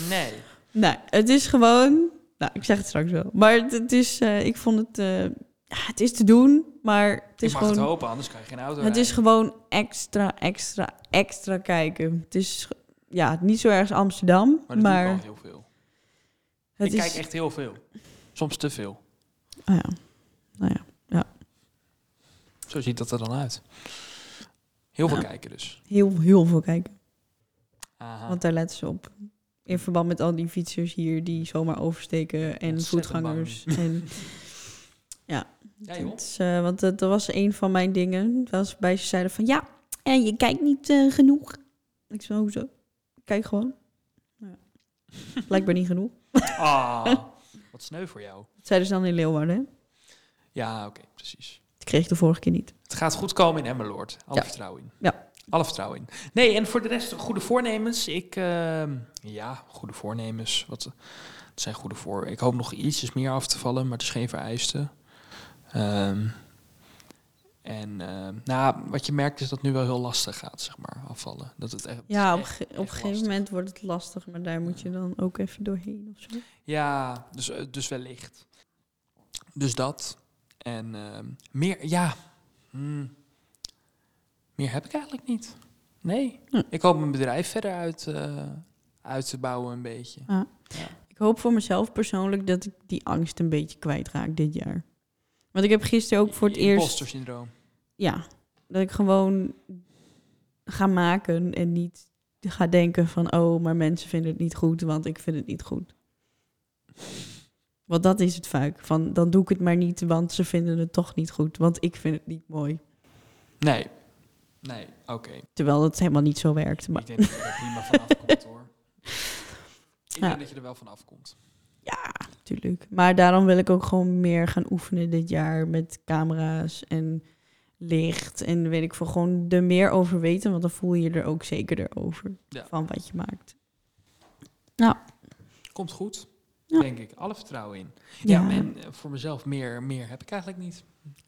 Nee.
Nou, het is gewoon. Nou, ik zeg het straks wel. Maar het, het is. eh, ik vond het. eh, ja, het is te doen, maar het
Ik
is
mag
gewoon.
het hopen, anders kan je geen auto
Het is
rijden.
gewoon extra, extra, extra kijken. Het is ge- ja, niet zo erg als Amsterdam,
Maar dat
maar,
doe ik wel heel veel.
het
ik
is.
kijk echt heel veel. Soms te veel.
Ah ja. Nou ja,
Zo ziet dat er dan uit. Heel veel
Ja.
kijken dus.
heel, heel veel kijken.
Aha.
Want daar letten ze op. In verband met al die fietsers hier die zomaar oversteken en
Ontzettend
voetgangers. En
ja, joh.
Het is, eh, want dat, dat was een van mijn dingen. Dat was bij ze zeiden van ja, en je kijkt niet eh, genoeg. Ik zei, hoezo? Ik Kijk gewoon. Nou Ja. [laughs] Blijkbaar niet genoeg.
Ah, wat sneu voor jou.
Dat zeiden ze dan in Leeuwarden. hè?
Ja, oké, precies.
Dat kreeg ik de vorige keer niet.
Het gaat goed komen in Emmeloord. Alle
Ja.
vertrouwen in.
Ja.
Alle vertrouwen in. Nee, en voor de rest goede voornemens. Ik, ehm, ja, goede voornemens. Wat, het zijn goede voor. Ik hoop nog ietsjes meer af te vallen, maar het is geen vereiste. Ehm, en ehm, nou, wat je merkt is dat het nu wel heel lastig gaat, zeg maar, afvallen. Dat het echt,
Ja, op,
echt-
ge- op een
echt
gegeven
lastig.
moment wordt het lastig, maar daar moet je dan ook even doorheen of zo.
Ja, dus, eh, dus wellicht. Dus dat. En ehm, meer, ja. hmm. Meer heb ik eigenlijk niet. Nee.
Hm.
Ik hoop mijn bedrijf verder uit, eh, uit te bouwen een beetje.
Ik hoop voor mezelf persoonlijk dat ik die angst een beetje kwijtraak dit jaar. Want ik heb gisteren ook voor het eerst
Imposter syndroom.
ja, dat ik gewoon ga maken en niet ga denken van oh, maar mensen vinden het niet goed, want ik vind het niet goed. Want dat is het vaak. Van dan doe ik het maar niet, want ze vinden het toch niet goed, want ik vind het niet mooi.
Nee. Nee, oké.
Terwijl dat helemaal niet zo werkt. Maar
Ik denk dat je er prima van afkomt
[laughs]
hoor. Ik
Ja.
denk dat je er wel van afkomt.
ja, natuurlijk. Maar daarom wil ik ook gewoon meer gaan oefenen dit jaar met camera's en licht en weet ik veel. Gewoon er meer over weten, want dan voel je je er ook zekerder over
Ja.
van wat je maakt.
Komt goed.
Ja.
Denk ik. Alle vertrouwen in. Ja, en eh, voor mezelf meer, meer heb ik eigenlijk niet.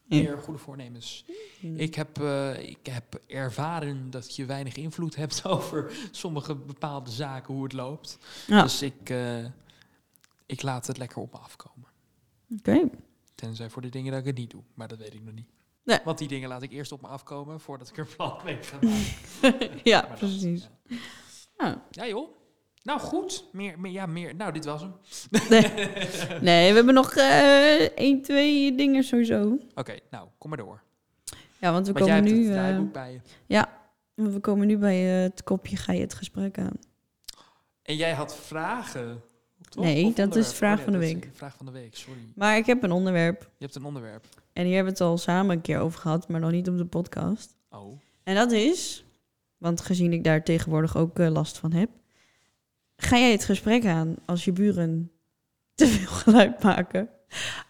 Nee.
Meer goede voornemens. Ik heb, eh, ik heb ervaren dat je weinig invloed [laughs] hebt over sommige bepaalde zaken, hoe het loopt.
Ja.
Dus ik, eh, ik laat het lekker op me afkomen.
Oké. [laughs]
Tenzij voor de dingen dat ik het niet doe, maar dat weet ik nog niet.
Nee.
Want die dingen laat ik eerst op me afkomen voordat ik er [laughs] plan mee ga maken.
ja,
Maar dat,
precies.
ja.
Ah.
Ja, joh. Nou goed, meer, meer, ja, meer. Nou, dit was hem.
Nee, we hebben nog eh één, twee dingen sowieso.
Oké, nou, kom maar door.
Ja, want we,
Want jij
komen
hebt
nu,
het
eh,
draaiboek bij je.
we komen nu bij eh, het kopje ga je het gesprek aan.
En jij had vragen. toch?
Nee,
Of
dat is
onderwerpen?
vraag van de
dat is
week.
een Vraag van de week, sorry.
Maar ik heb een onderwerp.
Je hebt een onderwerp.
En hier hebben we het al samen een keer over gehad, maar nog niet op de podcast.
Oh.
En dat is, want gezien ik daar tegenwoordig ook eh, last van heb. Ga jij het gesprek aan als je buren te veel [laughs] geluid maken?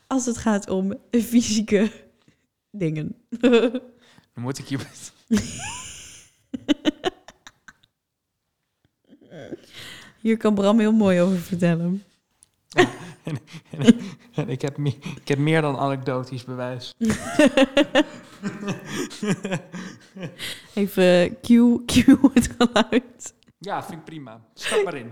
Als het gaat om fysieke [laughs] dingen.
Dan
[laughs]
moet ik je.
Hier kan Bram heel mooi over vertellen.
[laughs] En ik, heb me- ik heb meer dan anekdotisch bewijs.
Even eh, cue, cue het geluid.
Ja, vind ik prima. Stap maar
[laughs]
in.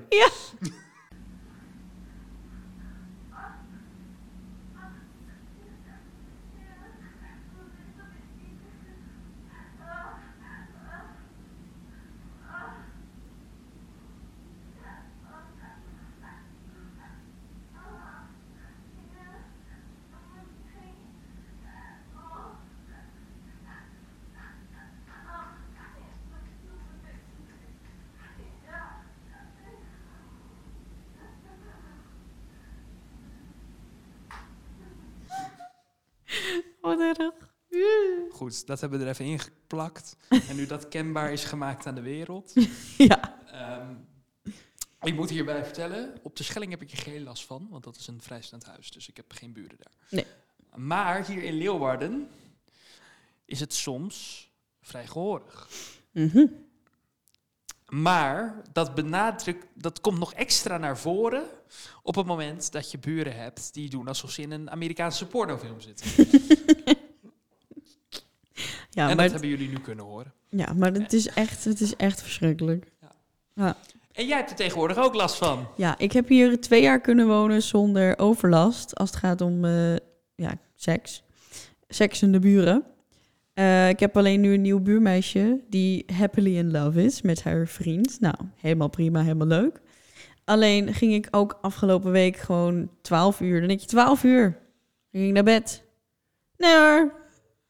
Wat erg.
Goed, dat hebben we er even ingeplakt. En nu dat kenbaar is gemaakt aan de wereld.
Ja.
Ehm, ik moet hierbij vertellen, op de Schelling heb ik er geen last van, want dat is een vrijstaand huis, dus ik heb geen buren daar.
Nee.
Maar hier in Leeuwarden is het soms vrij gehoorig.
Mhm.
Maar dat benadrukt, dat komt nog extra naar voren op het moment dat je buren hebt
Nou,
die doen alsof ze in een Amerikaanse pornofilm zitten.
Ja,
en
maar,
dat
het-
hebben jullie nu kunnen horen.
ja, maar het, is echt, het is echt verschrikkelijk.
En jij hebt er tegenwoordig ook last van.
Ja, ik heb hier twee jaar kunnen wonen zonder overlast als het gaat om eh, ja, seks. Seks in de buren. Eh, ik heb alleen nu een nieuw buurmeisje die happily in love is met haar vriend. Nou, helemaal prima, helemaal leuk. Alleen ging ik ook afgelopen week gewoon 12 uur. Dan denk je 12 uur. Dan ging ik naar bed. Nee hoor.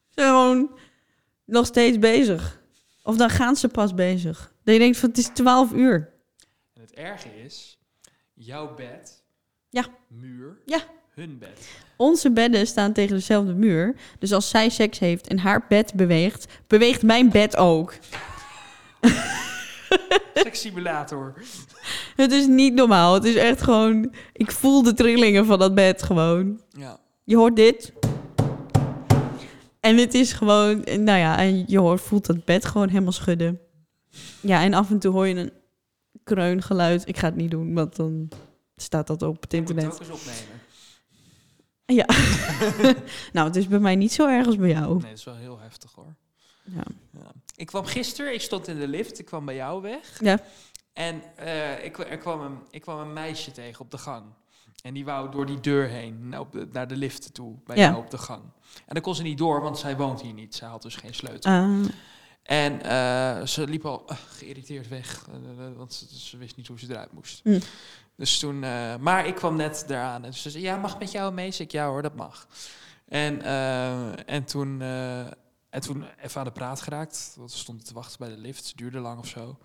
Ze zijn gewoon nog steeds bezig. Of dan gaan ze pas bezig. Dan je denkt van het is 12 uur.
En het erge is, jouw bed,
Ja.
muur,
Ja.
hun bed.
Onze bedden staan tegen dezelfde muur. Dus als zij seks heeft en haar bed beweegt, beweegt mijn bed ook.
Sekssimulator.
Het is niet normaal. Het is echt gewoon. Ik voel de trillingen van dat bed gewoon.
Ja.
Je hoort dit. En het is gewoon. Nou ja, en je hoort, voelt dat bed gewoon helemaal schudden. Ja, en af en toe hoor je een kreungeluid. Ik ga het niet doen, want dan staat dat op het
Ik moet het ook
internet.
eens opnemen.
Ja. nou, het is bij mij niet zo erg als bij jou.
Nee, dat is wel heel heftig hoor.
Nou. Ja.
Ja. Ik kwam gisteren, ik stond in de lift, ik kwam bij jou weg.
Ja.
En eh, ik, er kwam een, ik kwam een meisje tegen op de gang. En die wou door die deur heen, nou, op de- naar de lift toe, bij
Ja.
jou op de gang. En dan kon ze niet door, want zij woont hier niet. Zij had dus geen sleutel.
Ah,
En eh, ze liep al eh, geïrriteerd weg, eh, eh, want ze, ze wist niet hoe ze eruit moest.
Hm.
Dus toen, eh, maar ik kwam net daaraan en ze zei, ja, mag ik met jou mee? Zeg ik, ja hoor, dat mag. En, eh, en, toen, eh, en toen even aan de praat geraakt, want ze stonden te wachten bij de lift, het duurde lang of zo.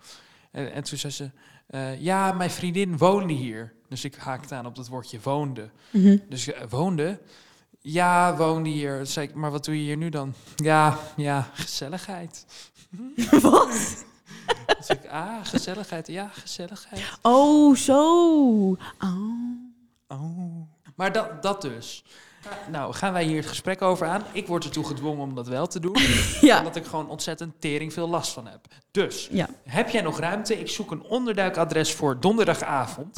En, en toen zei ze, eh, ja, mijn vriendin woonde hier. Dus ik haakte aan op dat woordje woonde.
mhm. [laughs]
Dus eh, woonde? Ja, woonde hier. Toen zei ik, maar wat doe je hier nu dan? [laughs] Ja, ja, gezelligheid.
Wat?
Toen zei ik, ah, gezelligheid. Ja, gezelligheid.
Oh, zo. Oh.
Oh. Maar dat, dat dus. Nou, gaan wij hier het gesprek over aan. Ik word ertoe gedwongen om dat wel te doen.
Ja.
Omdat ik gewoon ontzettend tering veel last van heb. Dus,
Ja.
heb jij nog ruimte? Ik zoek een onderduikadres voor
[laughs]
donderdagavond.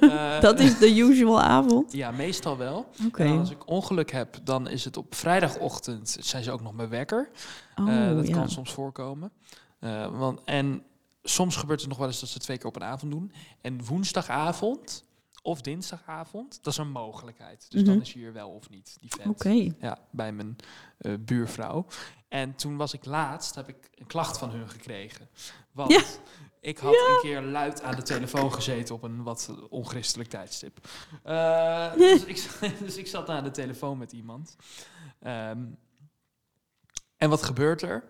Eh,
Dat is de usual avond.
Ja, meestal wel.
Oké.
En als ik ongeluk heb, dan is het op vrijdagochtend. Zijn ze ook nog mijn wekker?
Oh,
Eh, dat
ja.
kan soms voorkomen. Eh, want, en soms gebeurt het nog wel eens dat ze twee keer op een avond doen. En woensdagavond of dinsdagavond, dat is een mogelijkheid. Dus
Mhm.
dan is je hier wel of niet, die vent.
Oké.
Ja, bij mijn eh, buurvrouw. En toen was ik laatst, heb ik een klacht van hun gekregen. Want
Ja.
ik had een keer luid aan de telefoon gezeten op een wat onchristelijk tijdstip.
[laughs]
Eh, dus, ik, [laughs] dus ik zat aan de telefoon met iemand. Ehm, en wat gebeurt er?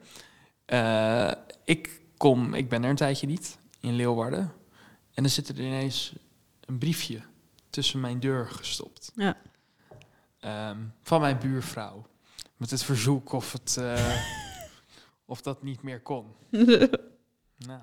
Eh, ik kom, ik ben er een tijdje niet, in Leeuwarden. En dan zit er ineens een briefje tussen mijn deur gestopt.
Ja.
Ehm, van mijn buurvrouw. Met het verzoek of, het, [laughs] eh, of dat niet meer kon. Nou.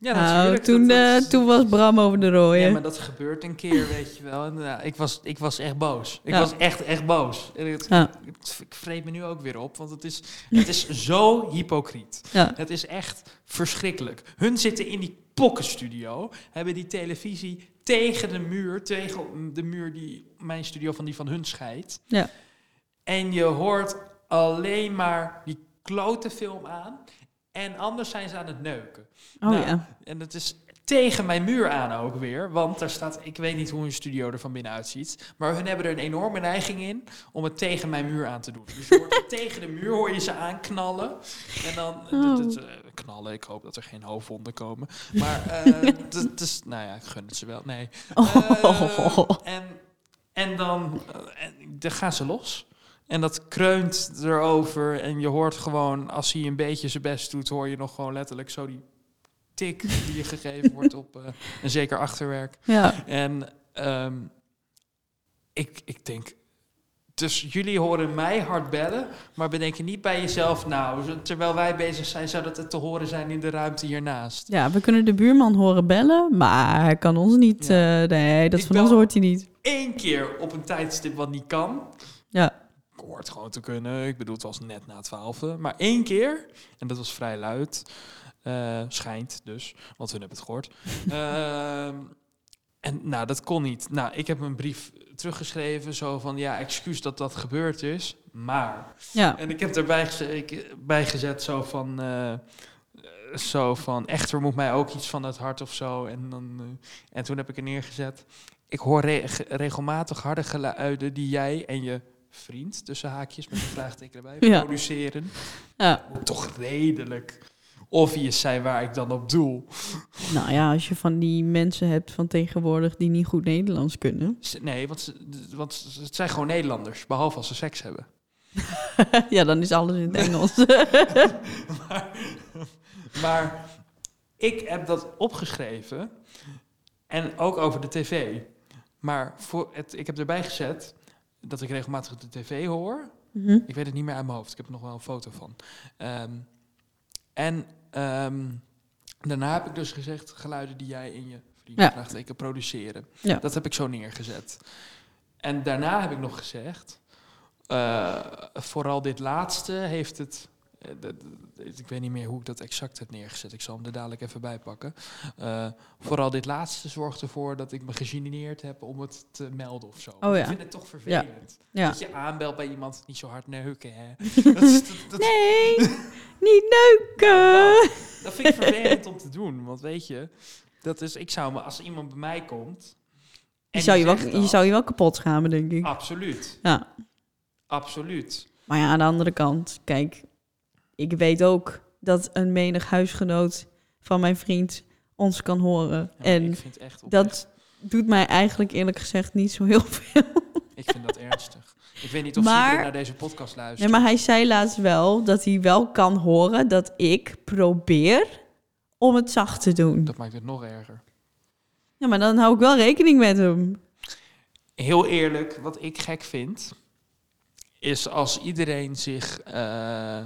Ja,
Nou,
natuurlijk,
toen,
dat- dat
eh,
is-
toen was Bram over de rooie.
Ja, maar dat gebeurt een keer, weet je wel. En, nou, ik, was, ik was echt boos. Ik
Ja.
was echt, echt boos. En het,
Ja.
het- ik vreet me nu ook weer op, want het is, het is zo hypocriet.
Ja.
Het is echt verschrikkelijk. Hun zitten in die pokkenstudio, hebben die televisie tegen de muur, tegen de muur die mijn studio van die van hun scheidt.
Ja.
En je hoort alleen maar die klote film aan. En anders zijn ze aan het neuken.
Oh
Nou,
ja.
En dat is tegen mijn muur aan ook weer. Want daar staat, ik weet niet hoe hun studio er van binnen uitziet. Maar hun hebben er een enorme neiging in om het tegen mijn muur aan te doen. Dus je hoort het tegen de muur hoor je ze aanknallen. En dan
Oh.
dat- dat, eh, knallen. Ik hoop dat er geen hoofdwonden komen. Maar eh, dat is, nou ja, ik gun het ze wel. Nee. Eh,
[laughs] Oh.
en, en dan eh, en, dan gaan ze los. En dat kreunt erover. En je hoort gewoon, als hij een beetje zijn best doet, hoor je nog gewoon letterlijk zo die tik die je gegeven wordt op eh, een zeker achterwerk.
Ja.
En ehm, ik, ik denk. Dus jullie horen mij hard bellen, maar bedenken niet bij jezelf, nou, zo- terwijl wij bezig zijn, zou dat het te horen zijn in de ruimte hiernaast.
ja, we kunnen de buurman horen bellen, maar hij kan ons niet.
Ja.
eh, nee, dat
Ik
van
bel-
ons hoort hij niet.
Eén keer op een tijdstip wat niet kan.
Ja.
Ik hoor het gewoon te kunnen. Ik bedoel, het was net na twaalf. Maar één keer, en dat was vrij luid, eh, schijnt dus, want hun hebben het gehoord. Ehm, en nou, dat kon niet. Nou, ik heb een brief teruggeschreven, zo van ja, excuus dat dat gebeurd is, maar.
Ja.
En ik heb erbij geze- ik- bij gezet zo van, eh, eh, zo van, echter moet mij ook iets van het hart of zo. En, dan, eh, en toen heb ik er neergezet, ik hoor re- ge- regelmatig harde geluiden die jij en je vriend, tussen haakjes
[laughs]
met een vraagteken erbij,
Ja.
produceren.
ja.
Moet toch redelijk obvious zijn waar ik dan op doel.
Nou ja, als je van die mensen hebt van tegenwoordig die niet goed Nederlands kunnen.
Ze- Nee, want, ze- d- want ze- het zijn gewoon Nederlanders, behalve als ze seks hebben.
[laughs] ja, dan is alles in het Engels.
[laughs] maar, maar ik heb dat opgeschreven en ook over de tv. Maar voor het, ik heb erbij gezet dat ik regelmatig de tv hoor.
[laughs] Mhm.
Ik weet het niet meer uit mijn hoofd. Ik heb er nog wel een foto van. Ehm, en ehm, daarna heb ik dus gezegd geluiden die jij in je
Ja.
vriendenvraagteken produceren.
Ja.
Dat heb ik zo neergezet. En daarna heb ik nog gezegd, eh, vooral dit laatste heeft het. eh, dat- dat- Ik weet niet meer hoe ik dat exact heb neergezet. Ik zal hem er dadelijk even bij pakken. Eh, vooral dit laatste zorgt ervoor dat ik me gegeneerd heb om het te melden of zo.
Oh ja.
Ik vind het toch vervelend.
ja.
Dat je aanbelt bij iemand, niet zo hard neuken,
[laughs]
hè. dat, is, dat, dat-
Nee, niet neuken.
dat vind ik vervelend om te doen. Want weet je, dat is, ik zou me, als iemand bij mij komt...
Je
en
zou je,
die
wel,
zegt
je
dat- Ah.
zou je wel kapot schamen, denk ik.
Absoluut,
Ja.
absoluut.
Maar ja, aan de andere kant, kijk, ik weet ook dat een menig huisgenoot van mijn vriend ons kan horen.
Ja, maar
en
ik vind het echt oprecht.
dat doet mij eigenlijk eerlijk gezegd niet zo heel veel.
Ik vind dat ernstig. Ik weet niet of
Maar-
Sibri naar deze podcast
Nee,
luistert.
maar hij zei laatst wel dat hij wel kan horen dat ik probeer om het zacht te doen.
Dat maakt het nog erger.
Ja, maar dan hou ik wel rekening met hem.
Heel eerlijk, wat ik gek vind, is als iedereen zich... eh,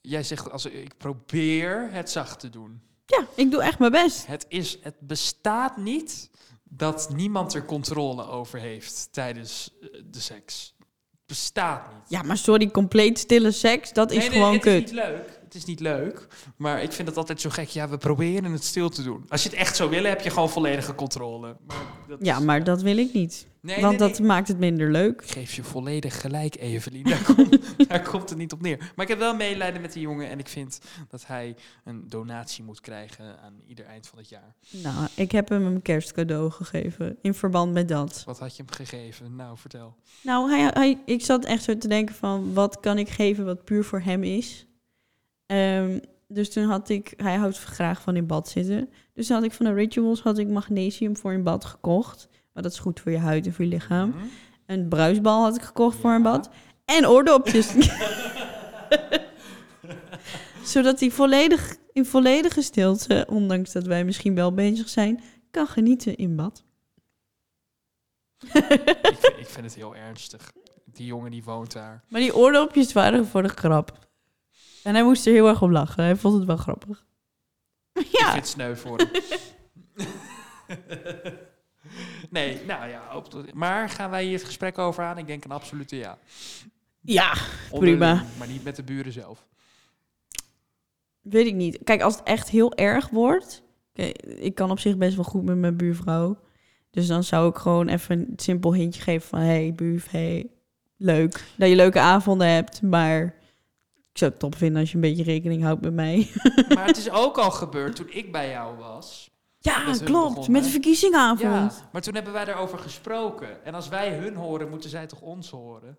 jij zegt, als, ik probeer het zacht te doen.
Ja, ik doe echt mijn best.
Het, is, het bestaat niet dat niemand er controle over heeft tijdens eh, de seks. Het bestaat niet.
Ja, maar sorry, compleet stille seks, dat is
Nee, nee,
gewoon
het
kut.
Is niet leuk. Het is niet leuk, maar ik vind het altijd zo gek. Ja, we proberen het stil te doen. Als je het echt zou willen, heb je gewoon volledige controle. Maar dat
Ja,
is-
maar dat wil ik niet.
Nee,
want
nee,
dat
nee.
maakt het minder leuk.
Ik geef je volledig gelijk, Evelien. Daar
[laughs]
komt, daar komt het niet op neer. Maar ik heb wel medelijden met die jongen en ik vind dat hij een donatie moet krijgen aan ieder eind van het jaar.
Nou, ik heb hem een kerstcadeau gegeven in verband met dat.
Wat had je hem gegeven? Nou, vertel.
Nou, hij, hij, ik zat echt zo te denken van wat kan ik geven wat puur voor hem is. Ehm, dus toen had ik, hij houdt graag van in bad zitten. Dus toen had ik van de Rituals had ik magnesium voor in bad gekocht. Maar dat is goed voor je huid en voor je lichaam.
Mhm.
Een bruisbal had ik gekocht voor
Ja.
een bad. En oordopjes. [laughs] Zodat hij volledig, in volledige stilte, ondanks dat wij misschien wel bezig zijn, kan genieten in bad. [laughs]
ik, vind, ik vind het heel ernstig. Die jongen die woont daar.
Maar die oordopjes waren voor de grap. En hij moest er heel erg om lachen. Hij vond het wel grappig.
Ik
Ja,
vind het sneu voor
[laughs]
hem. nee, nou ja. op de- maar gaan wij hier het gesprek over aan? Ik denk een absolute ja.
ja,
Onderling,
Prima.
Maar niet met de buren zelf. [laughs]
weet ik niet. Kijk, als het echt heel erg wordt... Kijk, ik kan op zich best wel goed met mijn buurvrouw. Dus dan zou ik gewoon even een simpel hintje geven van... hey, buurv, hey, leuk. Dat je leuke avonden hebt, maar... Ik zou het top vinden als je een beetje rekening houdt met mij. [laughs]
Maar het is ook al gebeurd toen ik bij jou was.
Ja,
Dat is hun
klopt.
begonnen,
met
hè?
de verkiezingavond.
Ja, maar toen hebben wij daarover gesproken. En als wij hun horen, moeten zij toch ons horen?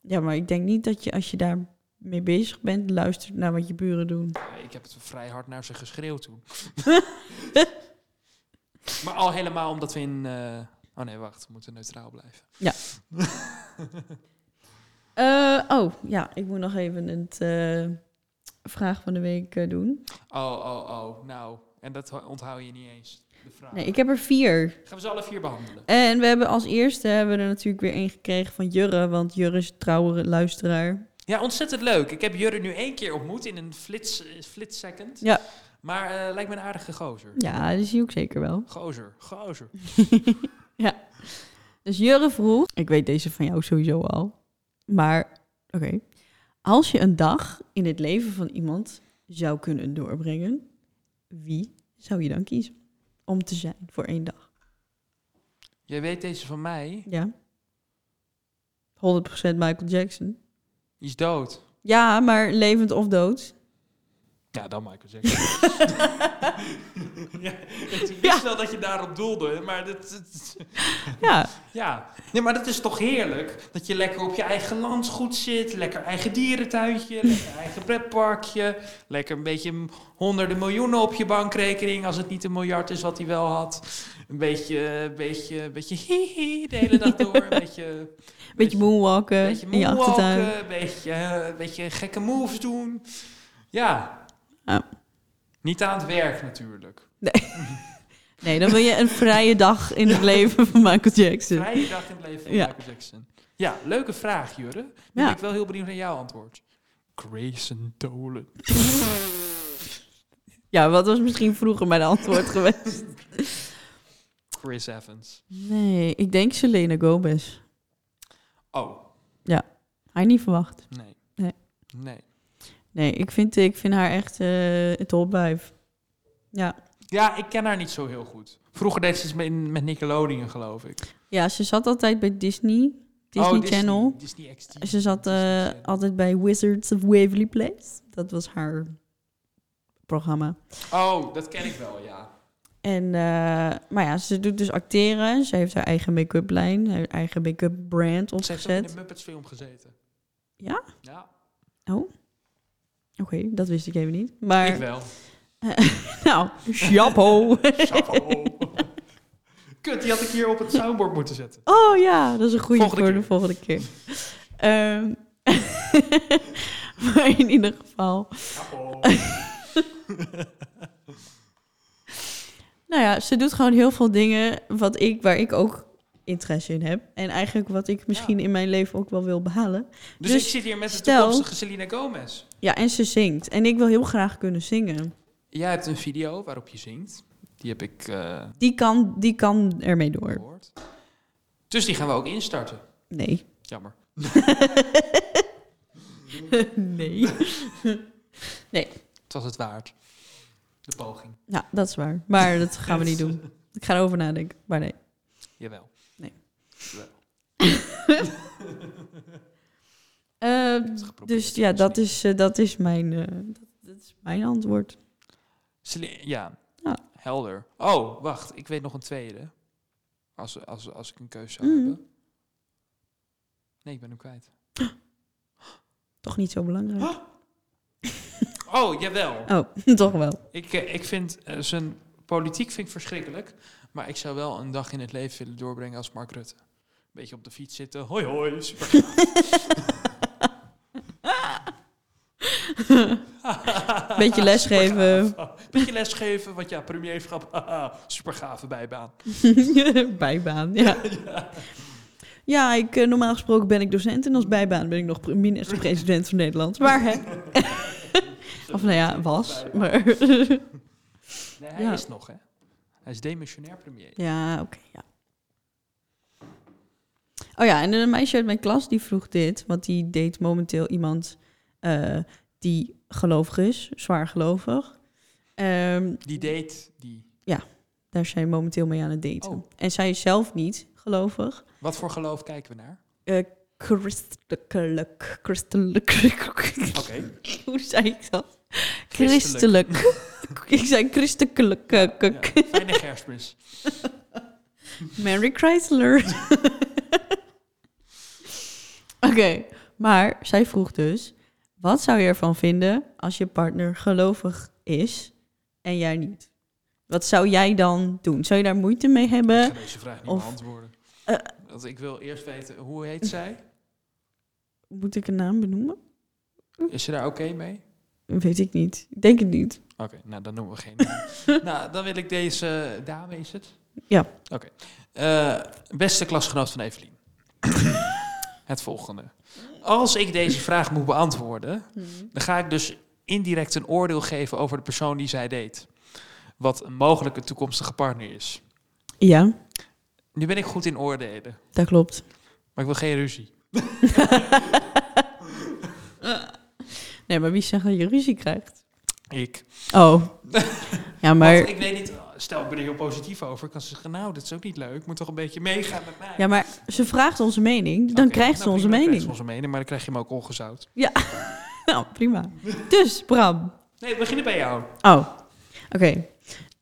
Ja, maar ik denk niet dat je als je daar mee bezig bent, luistert naar wat je buren doen.
Ik heb het vrij hard naar ze geschreeuwd
[laughs]
toen. maar al helemaal omdat we in... eh, Oh nee, wacht. We moeten neutraal blijven.
Eh, oh, ja, ik moet nog even het eh, vraag van de week eh, doen.
Oh, oh, oh. Nou, en dat ho- onthoud je niet eens. De vraag.
Nee, ik heb er vier.
Gaan we ze alle vier behandelen?
En we hebben als eerste hebben we er natuurlijk weer één gekregen van Jurre, want Jurre is een trouwe luisteraar.
Ja, ontzettend leuk. Ik heb Jurre nu één keer ontmoet in een flits, eh, flitssecond.
Ja.
Maar eh, lijkt me een aardige gozer.
Ja, die zie ik zeker wel.
Gozer, gozer.
Dus Jurre vroeg, ik weet deze van jou sowieso al, maar oké. Als je een dag in het leven van iemand zou kunnen doorbrengen, wie zou je dan kiezen om te zijn voor één dag?
Jij weet deze van mij.
Ja. 100% Michael Jackson.
Die is dood.
Ja, maar levend of dood.
Ja, dan Michael Jackson.
[laughs]
[laughs] ja, ik wist
Ja.
wel dat je daarop doelde, maar dat, dat-
ja,
ja. Nee, maar dat is toch heerlijk? Dat je lekker op je eigen landgoed zit, lekker eigen
[laughs]
dierentuintje, lekker eigen pretparkje, lekker een beetje m- honderden miljoenen op je bankrekening, als het niet een miljard is wat hij wel had. Een beetje, een beetje, een beetje hihi de hele dag door,
[laughs]
een beetje...
beetje moonwalken
Een beetje
in je achtertuin.
moonwalken, een beetje, eh, een beetje gekke moves doen. Ja.
Ja.
Niet aan het werk natuurlijk.
Nee, dan wil je een vrije dag in het leven van Michael Jackson.
Vrije dag in het leven van
Ja.
Michael Jackson. Ja, leuke vraag, Jurre. Nu
Ja.
ben ik wel heel benieuwd naar jouw antwoord. Grayson Dolan.
Ja, wat was misschien vroeger mijn
[laughs]
antwoord geweest?
Chris Evans.
Nee, ik denk Selena Gomez.
Oh,
Hij niet verwacht.
nee.
Nee.
Nee.
Nee, ik vind, ik vind haar echt eh het top vijf. Ja.
Ja, ik ken haar niet zo heel goed. Vroeger deed ze iets met, met Nickelodeon, geloof ik.
ja, ze zat altijd bij Disney. Disney
Oh,
Channel.
Disney XD.
Ze zat eh,
Disney Channel.
altijd bij Wizards of Waverly Place. Dat was haar programma.
Oh, dat ken ik wel, ja.
En, eh, maar ja, ze doet dus acteren. Ze heeft haar eigen make-up lijn, haar eigen make-up brand
Ze heeft ook in
opgezet.
de Muppets film gezeten.
Ja?
Ja,
Oké, dat wist ik even niet. Maar
ik wel.
[laughs] nou, chapeau.
Kut, die had ik hier op het soundboard moeten
[laughs]
zetten.
oh ja, dat is een goede
Volgende
voor
keer.
de volgende keer. Ehm, [laughs] maar in ieder geval. Nou ja, ze doet gewoon heel veel dingen wat ik, waar ik ook interesse in heb. En eigenlijk wat ik misschien in mijn leven ook wel wil behalen.
Dus,
Dus
ik zit hier met de
stel-
toekomstige Selena Gomez.
Ja, en ze zingt. En ik wil heel graag kunnen zingen.
Jij hebt een video waarop je zingt. Die heb ik eh,
Die kan, die kan ermee door.
gehoord. Dus die gaan we ook instarten.
Nee. [laughs]
Jammer.
nee.
Het was het waard. De poging.
Nou, dat is waar. Maar dat gaan we niet doen. Ik ga erover nadenken. Maar nee.
Jawel.
Nee.
Jawel.
Eh,
Het is geprobeerd,
dus ja,
het
dat
niet.
is, eh, dat is mijn, eh, dat, dat is mijn antwoord.
Sele- ja.
Ja.
helder. Oh, wacht. Ik weet nog een tweede. Als, als, als ik een keuze zou
Mhm.
hebben. Nee, ik ben hem kwijt.
Toch niet zo belangrijk.
Oh, jawel.
Oh, [laughs] toch wel.
Ik, eh, ik vind eh, zijn politiek vind ik verschrikkelijk. Maar ik zou wel een dag in het leven willen doorbrengen als Mark Rutte. Een beetje op de fiets zitten. Hoi, hoi. Super.
[laughs]
[laughs]
Beetje lesgeven.
Beetje lesgeven, want ja, premierschap. haha, super gave bijbaan.
[laughs] bijbaan, ja. [laughs] Ja, ik, eh, normaal gesproken ben ik docent en als bijbaan ben ik nog pre- minister-president van Nederland. Maar hè? Of nou ja, was. Maar
Nee, hij
Ja.
is nog, hè? Hij is demissionair premier.
ja, oké, ja. Oh ja, en een meisje uit mijn klas die vroeg dit, want die deed momenteel iemand eh, die gelovig is, zwaar gelovig. Ehm,
Die date, die...
daar zijn we momenteel mee aan het daten.
Oh.
En zij is zelf niet gelovig.
Wat voor geloof kijken we naar?
christelijk, christelijk.
Oké.
Hoe zei ik dat?
Christelijk.
Christelijk. [laughs] ik zei christelijk. eh,
Ja,
kuk.
ja. Fijne kerstmis.
Mary Chrysler. [laughs] Oké, maar zij vroeg dus: wat zou je ervan vinden als je partner gelovig is en jij niet? Wat zou jij dan doen? Zou je daar moeite mee
Ik
hebben?
ga deze vraag niet
of-
beantwoorden.
Eh.
Want ik wil eerst weten, hoe heet zij?
Moet ik een naam benoemen?
Is ze daar oké mee?
Weet ik niet. Ik Denk het niet.
Oké, nou dan noemen we geen
[laughs]
naam. nou, dan wil ik deze dame, is het?
Ja.
Oké. Eh, beste klasgenoot van Evelien. [coughs] het volgende. Als ik deze vraag moet beantwoorden,
Hmm.
dan ga ik dus indirect een oordeel geven over de persoon die zij deed. Wat een mogelijke toekomstige partner is.
Ja,
Nu ben ik goed in oordelen,
dat klopt.
maar ik wil geen ruzie.
nee, maar wie zegt dat je ruzie krijgt?
Ik.
Oh. ja, maar [laughs]
Want ik weet niet, stel, ik ben er heel positief over. Kan ze zeggen, nou, dit is ook niet leuk. Moet toch een beetje meegaan met mij.
Ja, maar ze vraagt onze mening, dan
Oké,
krijgt
nou,
ze onze
prima, dan krijgt
mening.
ze onze mening, maar dan krijg je hem ook ongezout.
[laughs] Nou, prima. Dus, Bram.
Nee, we beginnen bij jou.
Oh, oké.
ik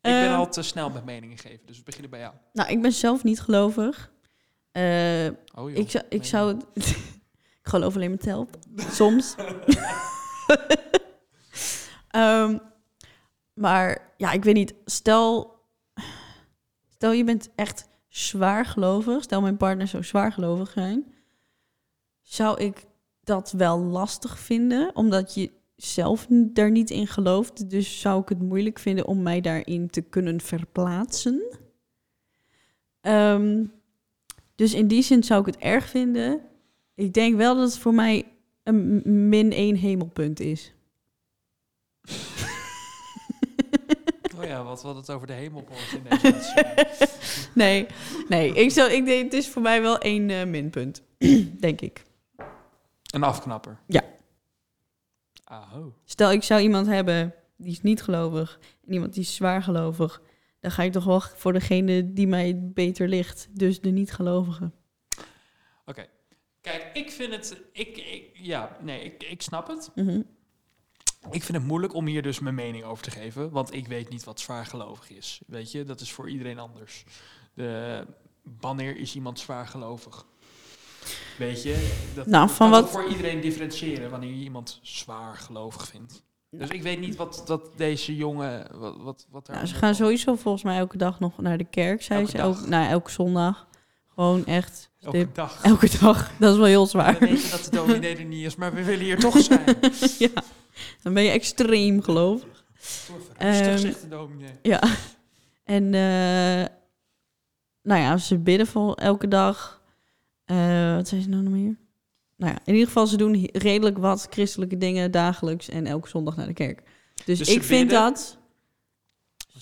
ben
Eh,
al te snel met meningen geven, dus we beginnen bij jou.
Nou, ik ben zelf niet gelovig. Eh,
Oh, joh.
ik, zou, ik
Nee.
zou... het- [laughs] ik geloof alleen met help. Soms. [laughs] Ehm, maar ja, ik weet niet. Stel, stel je bent echt zwaar gelovig. Stel mijn partner zou zwaar gelovig zijn. Zou ik dat wel lastig vinden? Omdat je zelf n- daar niet in gelooft. Dus zou ik het moeilijk vinden om mij daarin te kunnen verplaatsen. Ehm, dus in die zin zou ik het erg vinden. Ik denk wel dat het voor mij een m- min één hemelpunt is. [laughs]
Oh ja, wat we hadden het over de hemel voor in
[laughs]
deze uitzending.
nee, nee. Ik zou, ik denk, het is voor mij wel één eh, minpunt, [clears throat] denk ik.
Een afknapper.
Ja.
Aho.
Stel, ik zou iemand hebben die is niet gelovig en iemand die is zwaar gelovig. Dan ga ik toch wel voor degene die mij beter ligt. Dus de niet-gelovige.
Kijk, ik vind het... Ik, ik, ja, nee, ik, ik snap het.
Mhm.
Ik vind het moeilijk om hier dus mijn mening over te geven, want ik weet niet wat zwaargelovig is. Weet je, dat is voor iedereen anders. De, wanneer is iemand zwaargelovig? Weet je, dat
Nou,
dat
van
kan
wat-
voor iedereen differentiëren wanneer je iemand zwaargelovig vindt. Dus ik weet niet wat dat deze jongen wat wat wat daar
Nou, ze
aan
gaan
heeft.
sowieso volgens mij elke dag nog naar de kerk, zei
Elke
ze.
dag.
Elk, nou, elke zondag. Gewoon echt. [laughs]
elke dag.
Elke dag. Dat is wel heel
[laughs]
zwaar.
We weten dat de dominee er niet is, maar we willen hier toch
[laughs]
zijn.
ja, dan ben je extreem geloof.
Rustig,
Ehm,
zegt de dominee.
Ja. En eh, nou ja, ze bidden vol elke dag. Eh, wat zijn ze nou nog meer? Nou ja, in ieder geval, ze doen he- redelijk wat christelijke dingen dagelijks en elke zondag naar de kerk. Dus,
Dus ze
ik vind
bidden?
dat.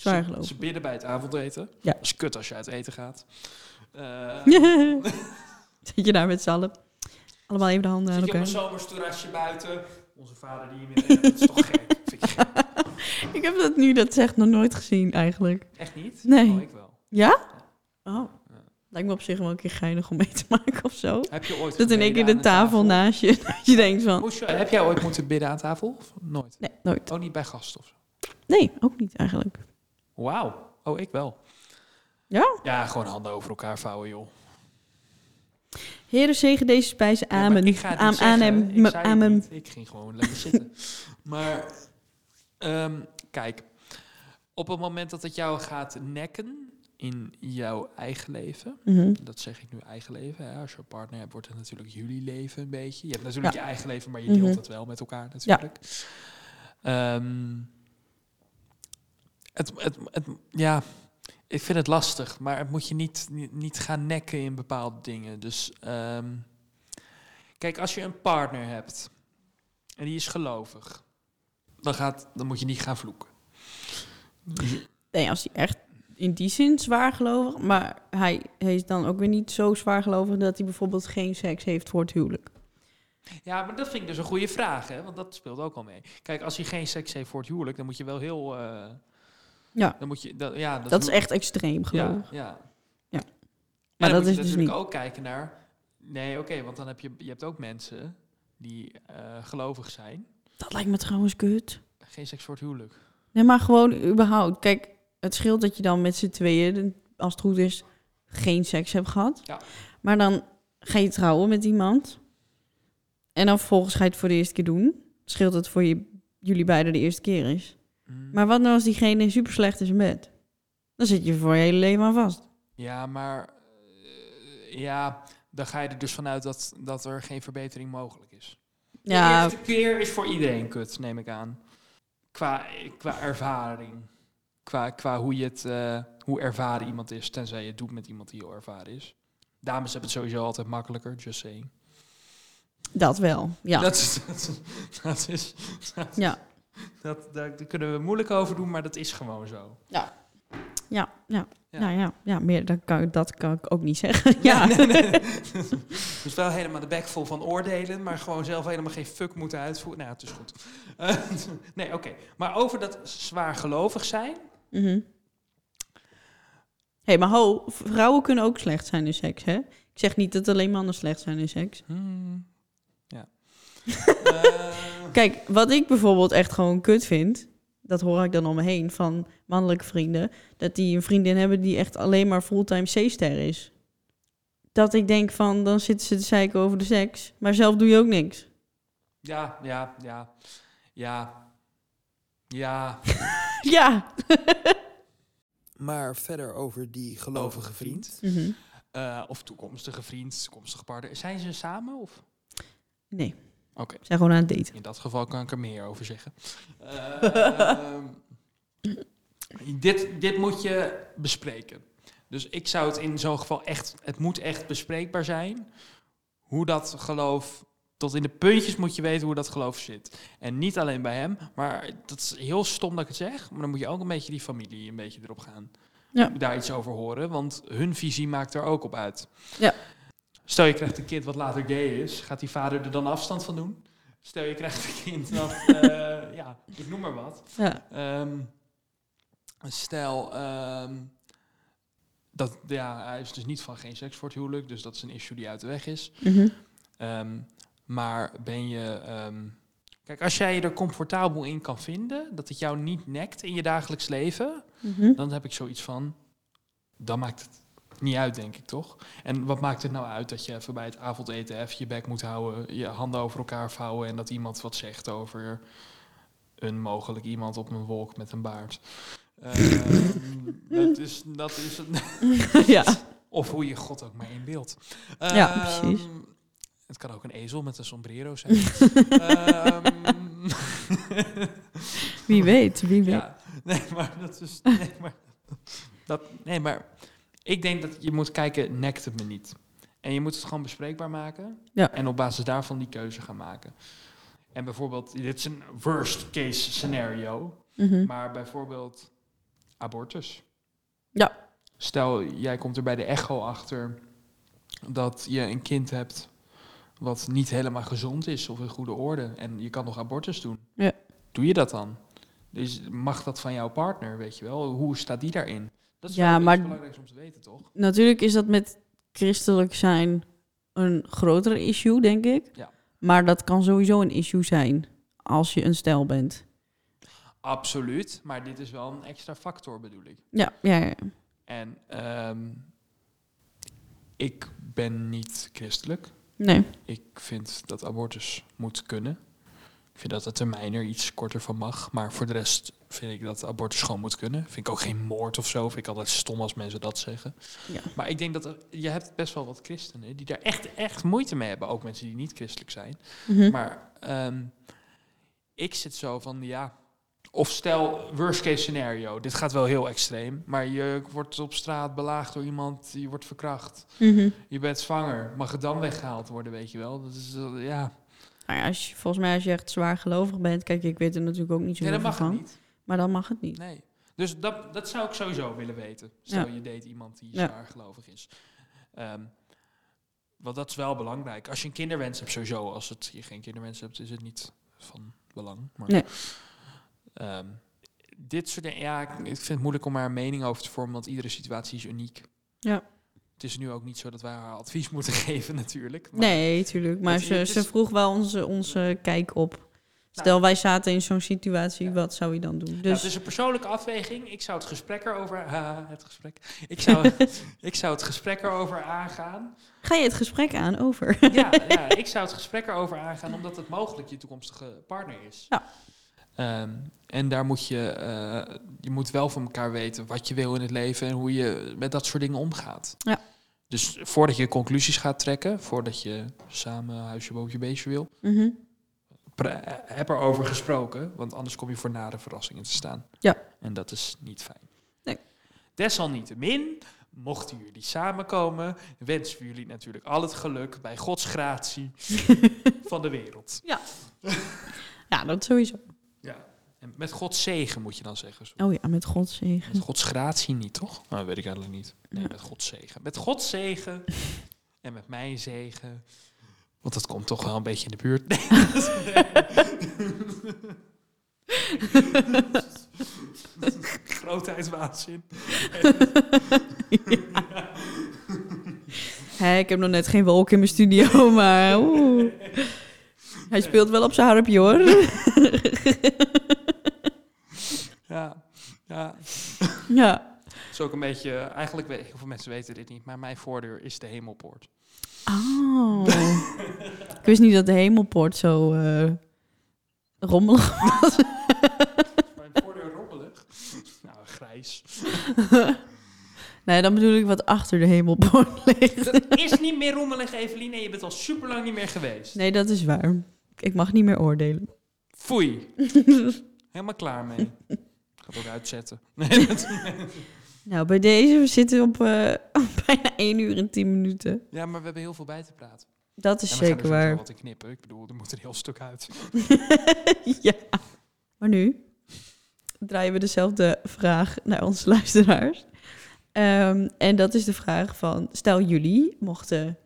[laughs] Zwaar
Ze,
geloof.
ze bidden bij het avondeten.
Ja.
Dat is kut als je uit eten gaat.
[laughs]
Eh,
Zit je daar met z'n allen? Allemaal even de handen aan
Zit je op
elkaar.
een zomers terrasje buiten? Onze vader die je midden hebt, [laughs] dat is toch gek? Vind ik gek.
ik heb dat nu, dat zegt nog nooit gezien eigenlijk.
Echt niet?
Nee.
Oh, ik wel.
Oh. Lijkt me op zich wel een keer geinig om mee te maken of zo.
Heb je ooit
Dat in één
gebeden
keer de
aan
tafel naast je. [laughs] Dat je denkt van.
Moest je- heb jij ooit moeten bidden aan tafel? Of nooit?
Nee, nooit.
Oh, niet bij gasten of zo?
Nee, ook niet eigenlijk.
Wauw. Oh, ik wel.
Ja?
Ja, gewoon handen over elkaar vouwen, joh.
Heren, zegen deze spijzen.
Ja, maar
Amen.
ik ga het niet
Aam-
zeggen.
aanem-
Ik
me-
zei het
Amen.
niet. Ik ging gewoon lekker zitten. [laughs] Maar ehm, kijk, op het moment dat het jou gaat nekken in jouw eigen leven,
Mhm.
dat zeg ik nu eigen leven. Hè. Als je een partner hebt, wordt het natuurlijk jullie leven een beetje. Je hebt natuurlijk je eigen leven, maar je deelt
Mhm.
het wel met elkaar natuurlijk. Ehm, het, het, het, ja, ik vind het lastig, maar het moet je niet, niet, niet gaan nekken in bepaalde dingen. Dus ehm, kijk, als je een partner hebt en die is gelovig, dan, gaat, dan moet je niet gaan vloeken.
Nee, als hij echt in die zin zwaar gelovig. Maar hij, hij is dan ook weer niet zo zwaar gelovig dat hij bijvoorbeeld geen seks heeft voor het huwelijk.
Ja, maar dat vind ik dus een goede vraag, hè? want dat speelt ook al mee. Kijk, als hij geen seks heeft voor het huwelijk, dan moet je wel heel. eh,
Ja.
Dan moet je, dat, ja,
Dat, is echt extreem
Ja,
gelovig.
ja.
Ja.
Maar dan
Maar dat
moet je
is dus
natuurlijk
niet.
ook kijken naar. Nee, oké, want dan heb je, je hebt ook mensen die eh, gelovig zijn,
Dat lijkt me trouwens kut.
geen seks voor het huwelijk.
Nee, maar gewoon überhaupt. Kijk, het scheelt dat je dan met z'n tweeën, als het goed is, geen seks hebt gehad.
Ja.
Maar dan ga je trouwen met iemand. En dan vervolgens ga je het voor de eerste keer doen. Het scheelt dat het voor je, jullie beiden de eerste keer is.
Mm.
Maar wat nou als diegene super slecht is in bed? Dan zit je voor je hele leven aan vast.
Ja, maar eh, ja, dan ga je er dus vanuit dat, dat er geen verbetering mogelijk is. De
Ja,
eerste keer is voor iedereen kut, neem ik aan. Qua, qua ervaring. Qua, qua hoe je het, eh, hoe ervaren iemand is, tenzij je het doet met iemand die heel ervaren is. Dames hebben het sowieso altijd makkelijker, just saying.
dat wel. Ja.
Dat, is- dat, dat is. Dat,
Ja.
Dat, daar daar kunnen we moeilijk over doen, maar dat is gewoon zo.
ja, ja,
Ja.
Nou ja, ja meer dan kan, dat kan ik ook niet zeggen. [laughs]
[laughs]
ja.
Nee, nee, nee. Dus wel helemaal de bek vol van oordelen, maar gewoon zelf helemaal geen fuck moeten uitvoeren. Nou, het is goed. [laughs] Eh, nee, oké. Maar over dat zwaar gelovig zijn.
Mhm. hey, maar ho, vrouwen kunnen ook slecht zijn in seks, hè? Ik zeg niet dat alleen mannen slecht zijn in seks.
Hmm. Ja. Eh,
Kijk, wat ik bijvoorbeeld echt gewoon kut vind, dat hoor ik dan om me heen van mannelijke vrienden, dat die een vriendin hebben die echt alleen maar fulltime C-ster is. Dat ik denk van, dan zitten ze te zeiken over de seks, maar zelf doe je ook niks.
ja, ja, ja. Ja. Ja.
Ja.
Maar verder over die gelovige vriend.
Mhm.
Eh, of toekomstige vriend, toekomstige partner. Zijn ze samen? Of?
Nee.
Oké.
Zijn gewoon aan het daten.
In dat geval kan ik er meer over
[laughs]
zeggen. Ehm, dit, dit moet je bespreken. Dus ik zou het in zo'n geval echt... Het moet echt bespreekbaar zijn. Hoe dat geloof... Tot in de puntjes moet je weten hoe dat geloof zit. En niet alleen bij hem. Maar dat is heel stom dat ik het zeg. Maar dan moet je ook een beetje die familie een beetje erop gaan.
Ja.
Daar iets over horen. Want hun visie maakt er ook op uit.
Ja.
Stel je krijgt een kind wat later gay is. Gaat die vader er dan afstand van doen? Stel je krijgt een kind dat... eh, ja, ik noem maar wat.
Ja.
Ehm, stel, ehm, dat, ja, hij is dus niet van geen seks voor het huwelijk, dus dat is een issue die uit de weg is.
Mhm.
Ehm, maar ben je. ehm, kijk, als jij je er comfortabel in kan vinden, dat het jou niet nekt in je dagelijks leven,
Mhm.
dan heb ik zoiets van. Dan maakt het niet uit, denk ik toch? En wat maakt het nou uit dat je even bij het avondeten even je bek moet houden, je handen over elkaar vouwen en dat iemand wat zegt over een mogelijk iemand op een wolk met een baard? Ehm, dat is, dat is het. [laughs]
ja.
Of hoe je God ook maar inbeeldt.
Ja, precies.
Ehm, Het kan ook een ezel met een sombrero zijn.
[laughs]
Ehm, [laughs]
Wie weet, wie weet.
ja, [laughs] nee, maar dat is. [laughs] Nee maar, dat, nee, maar ik denk dat je moet kijken, nekt het me niet. En je moet het gewoon bespreekbaar maken.
Ja.
En op basis daarvan die keuze gaan maken. En bijvoorbeeld, dit is een worst case scenario.
Mhm.
Maar bijvoorbeeld abortus.
Ja.
Stel, jij komt er bij de echo achter dat je een kind hebt wat niet helemaal gezond is of in goede orde. En je kan nog abortus doen.
Ja.
Doe je dat dan? Dus mag dat van jouw partner, weet je wel? Hoe staat die daarin? Dat is
Ja,
wel iets
maar-
belangrijk om te weten, toch?
Natuurlijk is dat met christelijk zijn een groter issue, denk ik.
Ja.
Maar dat kan sowieso een issue zijn als je een stijl bent.
Absoluut, maar dit is wel een extra factor, bedoel ik.
Ja, ja, ja.
En ehm, ik ben niet christelijk.
Nee.
Ik vind dat abortus moet kunnen. Ik vind dat de termijn er iets korter van mag. Maar voor de rest vind ik dat abortus gewoon moet kunnen. Vind ik ook geen moord of zo. Vind ik altijd stom als mensen dat zeggen.
Ja.
Maar ik denk dat er- je hebt best wel wat christenen die daar echt, echt moeite mee hebben. Ook mensen die niet christelijk zijn.
Mhm.
Maar ehm, ik zit zo van ja. Of stel, worst case scenario. Dit gaat wel heel extreem. Maar je wordt op straat belaagd door iemand. Je wordt verkracht.
Mhm.
Je bent zwanger. Mag het dan weggehaald worden, weet je wel? Dat is, eh, ja.
Nou ja, als je, volgens mij als je echt zwaar gelovig bent, kijk, ik weet er natuurlijk ook niet zo
Nee, dat
heel veel
mag het
van.
niet.
Maar dan mag het niet.
Nee. Dus dat, dat zou ik sowieso willen weten. Stel,
Ja.
je deed iemand die
Ja.
zwaar gelovig is. Ehm, want dat is wel belangrijk. Als je een kinderwens hebt, sowieso. Als het, je geen kinderwens hebt, is het niet van belang. Maar,
Nee.
Ehm, dit soort dingen, ja, ik, ik vind het moeilijk om daar een mening over te vormen, want iedere situatie is uniek.
Ja.
Het is nu ook niet zo dat wij haar advies [laughs] moeten geven, natuurlijk. maar-
Nee, tuurlijk. Maar
Het-
ze,
het is- Nou.
ze vroeg wel onze, onze kijk op. Stel, wij zaten in zo'n situatie,
Ja.
wat zou je dan doen?
Dus...
Dus,
het is een persoonlijke afweging. Ik zou het gesprek erover... haha, het gesprek. Ik
[laughs]
zou, ik zou het gesprek erover aangaan.
ga je het gesprek aan over?
Ja, ja, ik zou het gesprek erover aangaan... omdat het mogelijk je toekomstige partner is.
Ja.
Ehm, en daar moet je... eh, je moet wel van elkaar weten wat je wil in het leven... en hoe je met dat soort dingen omgaat.
Ja.
Dus voordat je conclusies gaat trekken... voordat je samen huisje, boompje, beestje wil...
Mhm.
pra- eh, heb erover gesproken, want anders kom je voor nare verrassingen te staan.
Ja.
En dat is niet fijn.
Nee.
Desalniettemin, mochten jullie samenkomen, wensen we jullie natuurlijk al het geluk bij Gods
[laughs]
gratie van de wereld.
[laughs] Ja, dat sowieso.
Ja. En met Gods zegen moet je dan zeggen. sorry.
Oh ja, met Gods zegen.
Met Gods gratie niet, toch? Nou, weet ik eigenlijk niet. Nee,
Ja.
met Gods zegen. Met Gods [laughs] zegen en met mijn zegen. [laughs] Want dat komt toch wel een beetje in de buurt. Grootheidswaanzin.
Hé, ik heb nog net geen wolk in mijn studio, maar
[laughs]
oeh. Hij speelt wel op zijn harpje, hoor.
Ja, ja.
Ja.
Het is ook een beetje, eigenlijk weet heel veel mensen weten dit niet, maar mijn voordeur is de hemelpoort.
Oh. ik wist niet dat de hemelpoort zo eh, rommelig...
Is mijn voordeur rommelig? Nou, grijs.
Nee, dan bedoel ik wat achter de hemelpoort ligt.
Dat is niet meer rommelig, Eveline. Je bent al super lang niet meer geweest.
Nee, dat is waar. Ik mag niet meer oordelen. [laughs]
Foei. Helemaal klaar mee. Ik ga het ook
[laughs]
uitzetten. Nee, dat-
Nou, bij deze, we zitten op eh, [laughs] bijna 1 uur en 10 minuten.
ja, maar we hebben heel veel bij te praten.
Dat is
En we gaan er
zeker
sowieso
waar.
wat in knippen. Ik bedoel, er moet een heel stuk uit.
[laughs] ja. Maar nu draaien we dezelfde vraag naar onze luisteraars. Ehm, en dat is de vraag van... Stel jullie mochten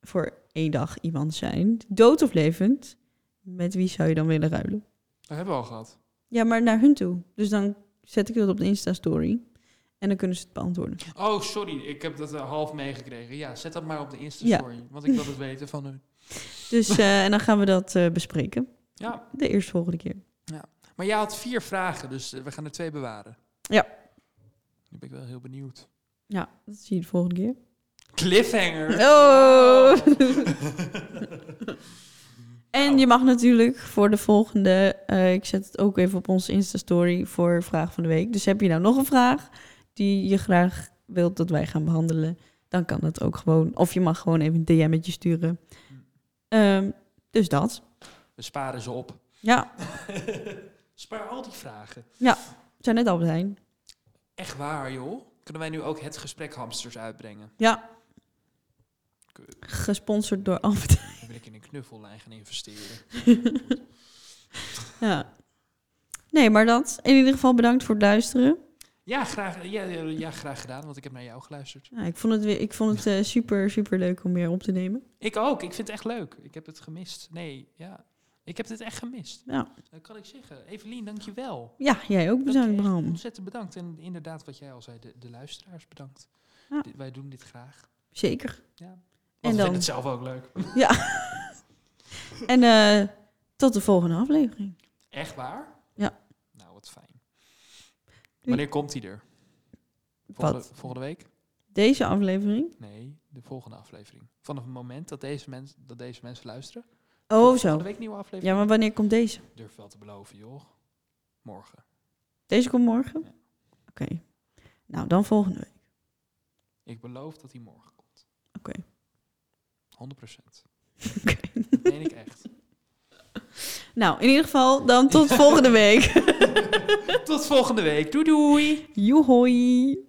voor één dag iemand zijn, dood of levend... met wie zou je dan willen ruilen?
Dat hebben we al gehad.
Ja, maar naar hun toe. Dus dan zet ik dat op de Insta-story. En dan kunnen ze het beantwoorden.
Oh, sorry. Ik heb dat eh, half meegekregen. Ja, zet dat maar op de Insta-story. Want ik wil het weten van hun.
Dus eh, en dan gaan we dat eh, bespreken.
Ja.
De eerstvolgende keer.
Maar jij had vier vragen, dus eh, we gaan er twee bewaren.
Ja.
Nu ben ik wel heel benieuwd.
Ja, dat zie je de volgende keer.
Cliffhanger. [laughs]
Oh.
Wauw.
En je mag natuurlijk voor de volgende, eh, ik zet het ook even op onze Insta-story voor vraag van de week. Dus heb je nou nog een vraag die je graag wilt dat wij gaan behandelen, dan kan dat ook gewoon. Of je mag gewoon even een DM'tje sturen. Ehm, dus dat.
we sparen ze op. [laughs]
Ja,
Spaar al die vragen.
we zijn net Albert Heijn.
Echt waar, joh. Kunnen wij nu ook het gesprek hamsters uitbrengen?
Ja.
Kut.
Gesponsord door Albert [laughs] Heijn.
Dan wil ik in een knuffellijn gaan investeren.
Ja. Nee, maar dat. In ieder geval bedankt voor het luisteren.
Ja graag, ja, ja, ja, graag gedaan, want ik heb naar jou geluisterd.
Ja, ik vond het, weer, ik vond het eh, super, super leuk om weer op te nemen.
Ik ook. Ik vind het echt leuk. Ik heb het gemist. Nee, ja. Ik heb dit echt gemist.
Ja.
Dat kan ik zeggen. Evelien, dankjewel.
Ja, jij ook
Dank
bedankt,
je echt
Bram.
Ontzettend bedankt. En inderdaad, wat jij al zei, de, de luisteraars bedankt.
Ja.
Dit- wij doen dit graag.
Zeker.
Want we
dan-
vinden het zelf ook leuk.
En eh, tot de volgende aflevering.
Echt waar?
Ja.
Nou, wat fijn. Wanneer komt hij er? Volgende,
Wat?
volgende week?
Deze aflevering?
Nee, de volgende aflevering. Vanaf het moment dat deze, mens, dat deze mensen luisteren.
Oh,
Volgende
zo.
week nieuwe aflevering.
Ja, maar wanneer komt deze?
Durf wel te beloven, joh. Morgen.
Deze komt morgen? Oké. Nou, dan volgende week. [laughs]
Ik beloof dat hij morgen komt.
Oké.
100%.
Oké.
Dat meen ik
[laughs]
echt.
Nou, in ieder
[laughs]
geval dan tot volgende week.
Tot volgende week. Doei doei.
Joehoi.